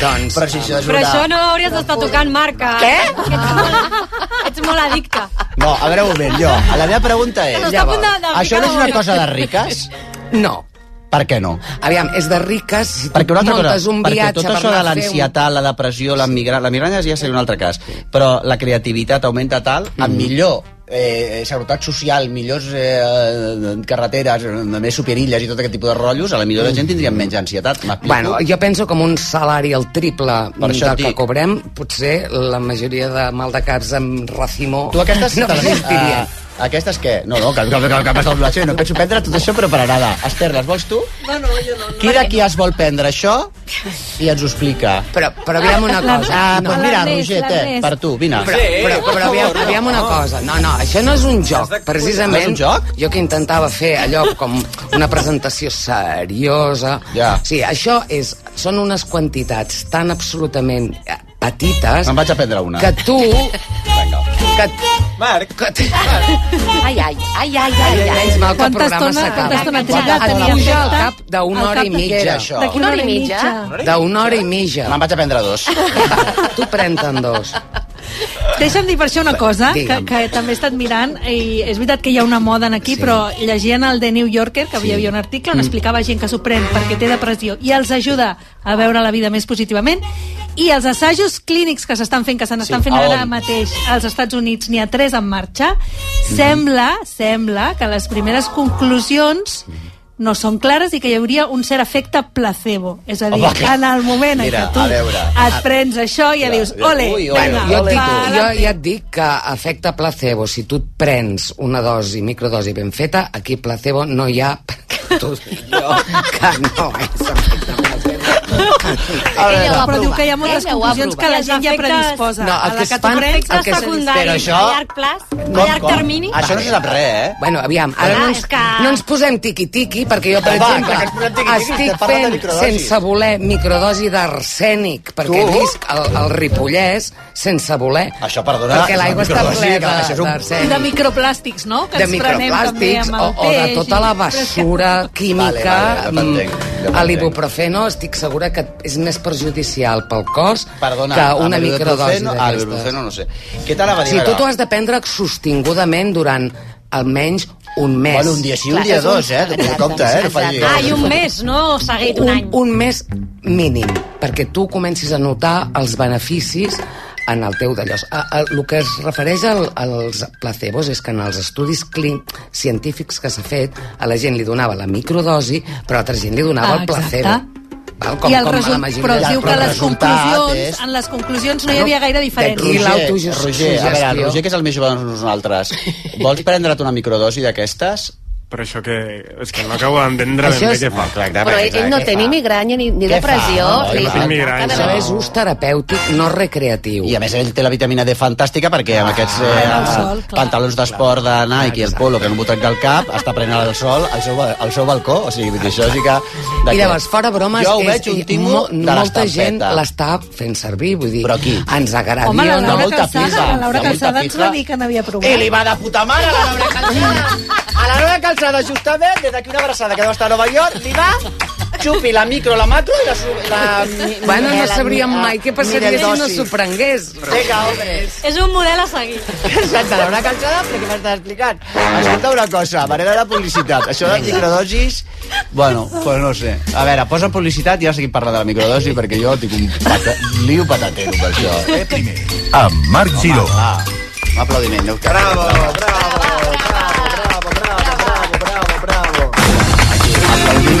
K: doncs, Però
C: si
H: Però això no hauries d'estar tocant marca. Què? Ets molt, ets molt addicte.
C: No, a veure un moment, jo. La meva pregunta és...
H: No, està a punt de- de
C: això no és
H: ficar-ho.
C: una cosa de riques?
K: No.
C: Per què no?
K: Aviam, és de riques... Si tu
C: Perquè una altra
K: muntes
C: cosa,
K: un
C: perquè
K: viatge
C: tot
K: per
C: això de
K: anar a fer un-
C: l'ansietat, la depressió, la migranya, la migranya ja seria un altre cas, però la creativitat augmenta tal, mm. millor eh, seguretat social, millors eh, carreteres, eh, més superilles i tot aquest tipus de rotllos, a la millor la gent tindria menys ansietat. m'explico?
K: Mm. Bueno, jo penso que amb un salari el triple
C: Per
K: del
C: això et
K: que
C: dic.
K: cobrem, potser la majoria de maldecaps amb racimo...
C: Tu aquestes
K: no
C: te les-
K: existirien.
C: ah, aquestes què? No, no, que, que, que, que passa el blatxer, no penso prendre tot això, però per anada. Esther, les vols tu?
K: No, no, jo no.
C: Qui d'aquí es vol prendre això i ens ho explica?
K: Però, però aviam una cosa.
C: Ah,
K: No.
C: doncs mira, Roger, té, per tu, vine.
K: Però, però, però aviam, aviam una cosa. No, no, això no és un joc. Precisament,
C: No és un joc?
K: jo que intentava fer allò com una presentació seriosa...
C: Ja.
K: Sí, això és, són unes quantitats tan absolutament eh, petites...
C: Me'n vaig a prendre una.
K: Que tu... Que... Marc! Que...
G: Ai, ai, ai, ai, ai, ai.
K: Menys mal que el
G: Quanta
K: programa
G: estona-
K: s'acaba.
G: quanta estona
K: Et
G: tens de tenir
K: puja al
G: contacte?
K: cap d'una
G: Al
K: hora
G: cap
K: i
G: de
K: mitja.
G: què era això? De quina hora i mitja?
K: D'una hora i mitja.
C: Me'n vaig a prendre dos.
K: tu pren-te'n dos.
J: Deixa'm dir per això una cosa, que,
K: Digue'm.
J: que també he estat mirant, i és veritat que hi ha una moda en aquí, sí. però llegien el The New Yorker, que sí. hi havia un article on
B: Mm.
J: explicava gent que s'ho pren perquè té depressió i els ajuda a veure la vida més positivament, i els assajos clínics que s'estan fent, que se n'estan sí,
B: Sí,
J: fent
B: a
J: ara
B: on?
J: mateix als Estats Units, n'hi ha tres en marxa, sembla, sembla que les primeres conclusions no són clares i que hi hauria un cert efecte placebo. És a dir,
K: Home, que-
J: en el moment en
K: Mira,
J: què tu
K: a veure.
J: et prens això i ja dius, ole, vinga,
K: jo, et dic, jo
J: pa'lante".
K: ja et dic que afecta placebo. Si tu et prens una dosi, microdosi ben feta, aquí placebo no hi ha... perquè Tu, jo, que no eh, és efecte placebo.
J: Ella ho ha però diu que hi ha moltes
H: Ella ho ha
J: conclusions que la
H: provat.
J: gent ja
H: Els efectes-
J: predisposa.
K: No, el
J: a la
K: que es
J: tu
K: fan-
J: prens,
K: el que
J: la
K: es-
J: secundaris,
K: però això-
J: a llarg plaç, a llarg termini...
C: Això no se sap res, eh?
K: Bueno, aviam, ara
J: Clar,
K: no, ens,
J: és que-
K: no ens posem tiqui-tiqui, perquè jo, per
J: Va,
K: exemple,
J: clar que ens posem tiqui-tiqui,
K: estic
J: estem parlant de
K: fent
J: microdosi.
K: sense voler microdosi d'arsènic, perquè
C: Tu?
K: visc al, al Ripollès sense voler.
C: Això, perdona,
K: perquè l'aigua
C: és
K: està
C: una microdosi,
K: plena
C: que això és un-
J: I
K: d'arsènic.
J: de microplàstics, no? Que
K: de
J: ens prenem també
K: microplàstics
J: amb
K: o,
J: el
K: o de
J: peix
K: tota la
J: i-
K: bessura
C: Vale,
K: química
C: vale, ja t'entenc, ja
K: a l'ibuprofeno estic segura que és més perjudicial pel cos
C: Perdona,
K: que una
C: amb el
K: microdosi
C: ibuprofeno- ah, el
K: d'aquestes.
C: ibuprofeno no sé. Què t'anava a dir
K: Si tu
C: ara?
K: t'ho has de prendre sostingudament durant almenys un mes.
C: Bueno, un dia sí, un Clar, dia és un- dos, eh? Exacte. Compte, eh? No facis-
H: Ah, i un mes, no? Seguit un, any.
K: Un mes mínim, perquè tu comencis a notar els beneficis en el teu d'allò. A- a- El que es refereix al, als placebos és que en els estudis clí- científics que s'ha fet, a la gent li donava la microdosi, però a altra gent li donava
J: Ah,
K: el placebo.
J: exacte.
K: Val?
J: I el resum- però diu que les conclusions,
C: és-
J: en les conclusions no hi havia gaire diferència.
C: Roger, Roger, a veure, el Roger, que és el més jove de nosaltres, vols prendre't una microdosi d'aquestes? Ah,
I: Però això que... És que no acabo d'entendre ben
C: Això
I: bé
C: és-
I: què fa.
G: Però ell, ell no té ni migranya ni, ni depressió. Li-
I: tinc migranya.
K: Això és ús terapèutic, no recreatiu.
C: I a més ell té la vitamina D fantàstica perquè amb aquests eh,
K: Ah. el sol,
C: pantalons d'esport de Nike i el polo que no m'ho trenca el cap, està prenent el sol al seu, al seu balcó, o sigui, vull dir, això sí que...
K: I llavors, fora bromes,
C: jo ho
K: és-
C: veig un timo
K: mo-
C: de
K: molta gent
C: l'estampeta.
K: l'està fent servir, vull dir, Però qui? ens agradaria...
J: Home, la
K: no,
J: Laura
K: molta
J: Calçada,
K: pizza,
J: la Laura
K: de molta
J: Calçada ens
K: pizza.
J: va dir que n'havia provat.
K: I li va
J: de puta mare, la Laura
V: A la Laura Calçada, justament, des d'aquí una abraçada que deu estar a Nova York, li va xupi la micro, la macro i la... su-
J: Ah,
V: la mi-
K: Ah, Bueno,
V: mi-
K: no
V: la-
K: sabríem mai què passaria si no
V: minidosi.
K: s'ho prengués.
V: Vinga, homes.
H: És un model a seguir.
V: Exacte, la Laura Calçada, però què m'estàs explicant?
C: Escolta una cosa, manera de publicitat. Això de microdosis... Bueno, pues no ho sé. A veure, posa publicitat i ara seguim parlant de la microdosi perquè jo tinc un pata... lío patatero per això. Eh? Primer.
E: Amb Marc Giró.
C: Un aplaudiment. No? Bravo, bravo, bravo, bravo, bravo, bravo, bravo, bravo. Aquí, aplaudint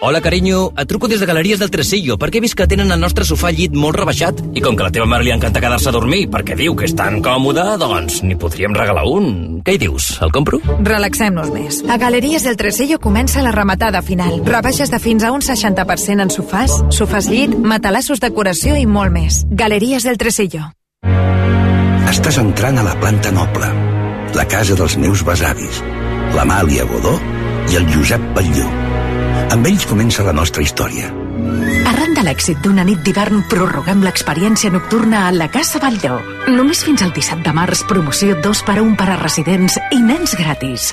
S: Hola, carinyo. Et truco des de Galeries del Tresillo perquè he vist que tenen el nostre sofà llit molt rebaixat i com que a la teva mare li encanta quedar-se a dormir perquè diu que és tan còmode, doncs n'hi podríem regalar un. Què hi dius? El compro?
W: Relaxem-nos més. A Galeries del Tresillo comença la rematada final. Rebaixes de fins a un 60% en sofàs, sofàs llit, matalassos decoració i molt més. Galeries del Tresillo.
P: Estàs entrant a la planta noble, la casa dels meus besavis, l'Amàlia Godó i el Josep Batlló. Amb ells comença la nostra història.
W: Arran de l'èxit d'una nit d'hivern prorroguem l'experiència nocturna a la Casa Batlló. Només fins al 17 de març, promoció 2 per 1 per a residents i nens gratis.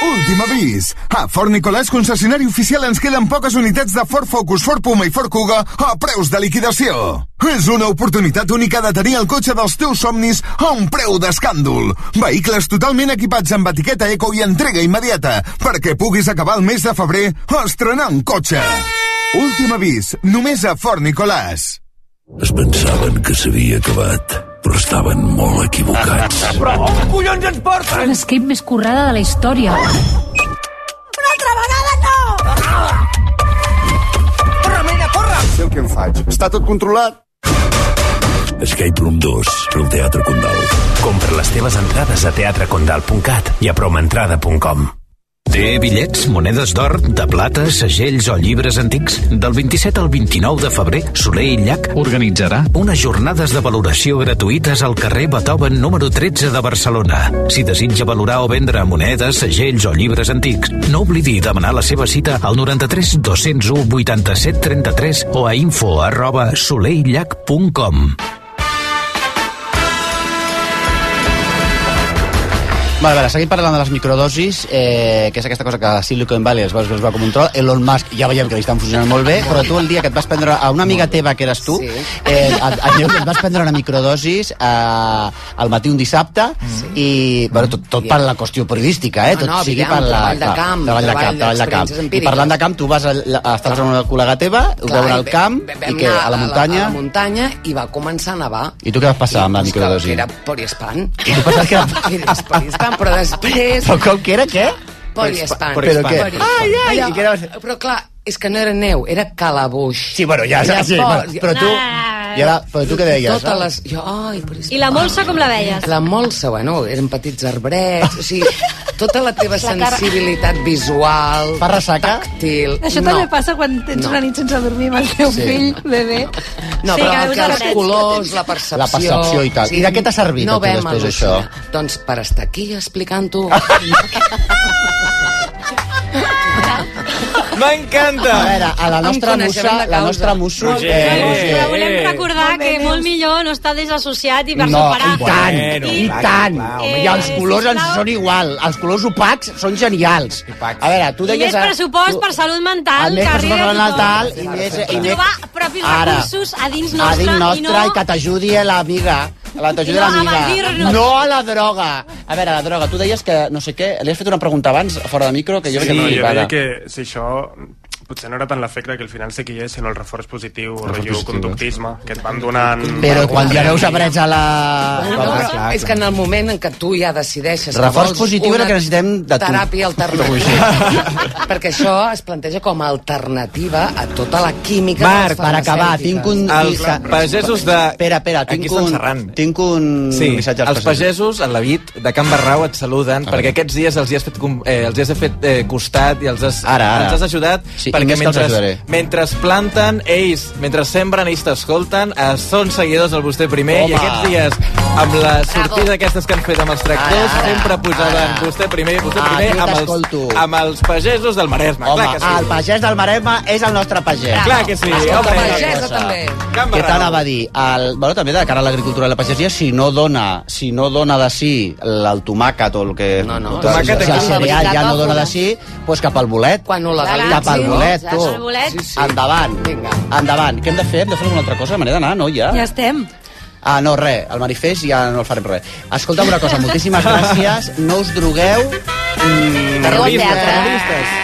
M: Últim avís. A Fort Nicolàs, concessionari oficial, ens queden poques unitats de Ford Focus, Ford Puma i Ford Kuga a preus de liquidació. És una oportunitat única de tenir el cotxe dels teus somnis a un preu d'escàndol. Vehicles totalment equipats amb etiqueta eco i entrega immediata perquè puguis acabar el mes de febrer estrenant cotxe. Últim avís. Només a Fort Nicolàs.
P: Es pensaven que s'havia acabat, però estaven molt equivocats.
N: Però on collons ens porten?
J: L'escape més currada de la història.
N: Una altra vegada no! Corre, Marina, corre!
M: Sé el que em faig. Està tot controlat.
P: Escape Room 2, al Teatre Condal.
A: Compra les teves entrades a teatrecondal.cat i a promentrada.com. Té bitllets, monedes d'or, de plata, segells o llibres antics? Del 27 al 29 de febrer, Soler i Llach organitzarà unes jornades de valoració gratuïtes al carrer Beethoven número 13 de Barcelona. Si desitja valorar o vendre monedes, segells o llibres antics, no oblidi demanar la seva cita al 93 201 87 33 o a info arroba soleillac.com.
C: Vale, vale, seguim parlant de les microdosis, eh, que és aquesta cosa que a Silicon Valley es va, es va com un troll. Elon Musk ja veiem que li estan funcionant molt bé, però tu el dia que et vas prendre a una amiga teva que eres tu,
K: Sí.
C: eh, et, et, diu que et vas prendre una microdosis eh, al matí un dissabte i, bueno, tot, tot per la qüestió periodística, eh?
K: No,
C: Tot
K: no,
C: sigui
K: aviam,
C: per la...
K: treball de
C: clar,
K: camp,
C: treball de
K: treball
C: camp, treball de
K: d'experiències
C: camp. I
K: empíriques.
C: parlant de camp, tu vas a, a estar amb una col·lega teva, ho veuen al
K: i ve-
C: camp,
K: ve-
C: i
K: vam
C: que
K: anar
C: a la muntanya...
K: A la, muntanya i va començar a nevar.
C: I tu què vas passar amb la
K: Doncs que-
C: microdosi?
K: Que era poliespan.
C: I tu pensaves que era...
K: Era poliespan, però després...
C: Però com que era, què?
K: Poliespan.
C: Però què?
K: Ai, ai! Allò, però clar, és que no era neu, era calaboix.
C: Sí, bueno, ja...
K: Llavors,
C: sí, bueno, però tu... I ara, però tu què deies?
K: Totes
C: eh?
K: les... Jo, ai, però és... eh,
H: I la molsa com la veies?
K: La molsa, bueno, eren petits arbrets, o sigui, tota la teva
J: La cara-
K: sensibilitat visual...
C: Fa ressaca?
K: Tàctil...
J: Això
K: no.
J: també passa quan tens
K: No.
J: una nit sense dormir amb el teu
K: Sí.
J: fill, bebè.
K: No,
J: Sí,
K: sí,
J: que
K: però
J: veus
K: que els
J: arbrets.
K: colors, la percepció...
C: La percepció i tal. I de què t'ha servit a
K: no
C: tu
K: vam
C: després,
K: al·lucinar.
C: això?
K: Doncs per estar aquí explicant-ho...
F: M'encanta!
C: A veure, a la
K: Amb
C: nostra musa,
K: coneixement de
C: la
K: causa.
C: nostra musu...
K: Roger.
C: Eh,
H: Però volem recordar
J: Molt bé,
H: que
J: nens.
H: molt millor no està desassociat i per
C: no, i
H: separar.
C: tant,
H: Bueno,
C: i
H: clar,
C: tant.
H: clar, eh,
C: Home,
H: home.
C: I els colors ens
H: sisplau.
C: són igual. Els colors opacs són genials. A veure, tu
H: I
C: deies...
H: més pressupost per salut
C: a
H: mental,
C: més
H: que
C: pressupost
H: arribi
C: per
H: a
C: salut mental
H: tothom.
C: i més- i
H: I
C: més-
H: trobar propis
C: Ara.
H: recursos a dins
C: a
H: nostre,
C: dins
H: i
C: nostra i que
H: no...
C: t'ajudi l'amiga. La t'ajudi
H: I no a
C: l'amiga.
H: evadir-nos.
C: No a la droga. A veure, la droga, tu deies que no sé què... Li has fet una pregunta abans, fora de micro, que jo crec
I: sí,
C: que no li
I: jo
C: agrada.
I: deia que si això potser no era tant l'efecte que al final sí que hi és, sinó el reforç positiu, el rotllo conductisme, que et van donant...
C: Però quan ja veus abrets a la...
K: No, no, és que en el moment en què tu ja decideixes... que
C: Reforç
K: vols
C: positiu era
K: una
C: que necessitem de tu.
K: Teràpia alternativa. perquè això es planteja com a alternativa a tota la química
C: Marc,
K: de les
C: per acabar, tinc un...
F: Els
C: sa-
F: pagesos de...
C: Espera, espera,
F: Aquí
C: tinc
F: estan
C: un...
F: serrant.
C: Tinc un
F: Sí,
C: missatge als
F: els pagesos, el David de Can Barrau et saluden perquè aquests dies els hi has fet, com- eh, els hi has fet eh, costat i els has,
C: Ara, ara.
F: Els has ajudat
C: Sí, i
F: perquè
C: més que els
F: mentre,
C: ajudaré.
F: mentre es planten, ells, mentre sembren, ells t'escolten, eh, són seguidors del vostè primer
C: Home.
F: i aquests dies amb la sortida aquestes que han fet amb els tractors
C: Ara, ara,
F: sempre posaven
C: ara.
F: vostè primer, vostè
C: Ah,
F: primer
C: jo
F: amb els,
C: t'escolto.
F: amb els pagesos del Maresme.
C: Home,
F: clar que sí.
C: el pagès del Marema és el nostre pagès.
F: Bravo. Clar que sí,
C: Escolta,
F: home.
C: una
F: Pagesa
C: cosa.
F: també. Can
C: Què
F: Barrau.
C: t'anava a dir? El, bueno, també de cara a l'agricultura i la pagesia, si no dona, si no dona de si el, el tomàquet o el que... No, no. El,
K: Tomàquet
C: el,
K: aquí.
C: cereal ja no dona de si, doncs cap al bolet.
K: Quan ho legalitzin.
C: Cap al bolet, tu.
K: Al bolet.
C: Sí, sí. Endavant.
K: Vinga.
C: Endavant. Què hem de fer? Hem de fer alguna altra cosa? Me n'he d'anar, no, ja?
J: Ja estem.
C: Ah, no, res, el manifest ja no el farem res. Escolta una cosa, moltíssimes gràcies, no us drogueu... Mm,
F: Terroristes,
C: eh,
F: terroristes.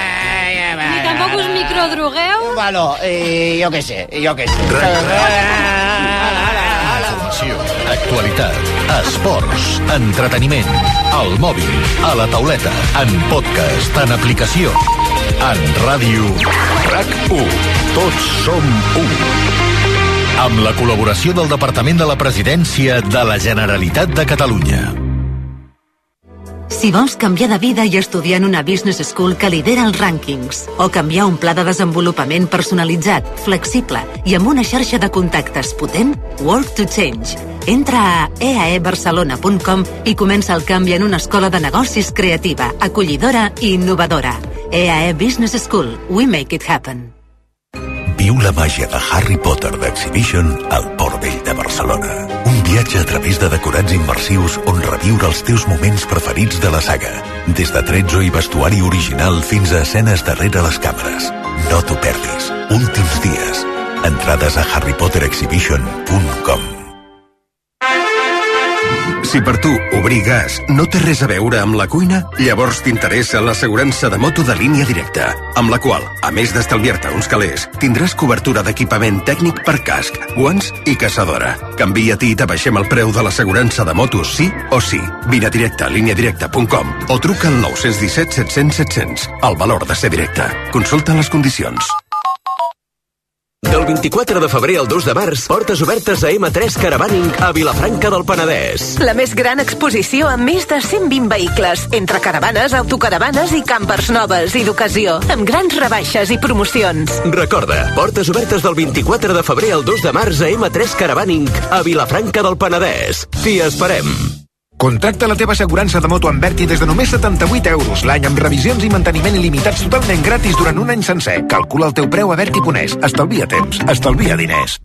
H: Ni tampoc us microdrogueu.
C: Bueno, eh, jo què sé, jo què sé.
A: Informació, actualitat, esports, entreteniment, al mòbil, a la tauleta, en podcast, en aplicació, en ràdio. RAC1. Tots som un. Amb la col·laboració del Departament de la Presidència de la Generalitat de Catalunya.
O: Si vols canviar de vida i estudiar en una business school que lidera els rànquings, o canviar un pla de desenvolupament personalitzat, flexible i amb una xarxa de contactes potent, Work to Change. Entra a eaebarcelona.com i comença el canvi en una escola de negocis creativa, acollidora i innovadora. EAE Business School. We make it happen.
P: Viu la màgia de Harry Potter d'Exhibition al Port Vell de Barcelona. Un viatge a través de decorats immersius on reviure els teus moments preferits de la saga. Des de tretzo i vestuari original fins a escenes darrere les càmeres. No t'ho perdis. Últims dies. Entrades a harrypoterexhibition.com
E: Si per tu obrir gas no té res a veure amb la cuina, llavors t'interessa l'assegurança de moto de línia directa, amb la qual, a més d'estalviar-te uns calés, tindràs cobertura d'equipament tècnic per casc, guants i caçadora. Canvia-t'hi i t'abaixem el preu de l'assegurança de moto sí o sí. Vine a directe a líniadirecta.com o truca al 917 700 700. El valor de ser directe. Consulta les condicions.
S: Del 24 de febrer al 2 de març, portes obertes a M3 Caravaning a Vilafranca del Penedès.
V: La més gran exposició amb més de 120 vehicles, entre caravanes, autocaravanes i campers noves i d'ocasió, amb grans rebaixes i promocions.
S: Recorda, portes obertes del 24 de febrer al 2 de març a M3 Caravaning a Vilafranca del Penedès. T'hi esperem.
X: Contracta la teva assegurança de moto amb Berti des de només 78 euros l'any amb revisions i manteniment il·limitats totalment gratis durant un any sencer. Calcula el teu preu a Berti Conés. Estalvia temps, estalvia diners.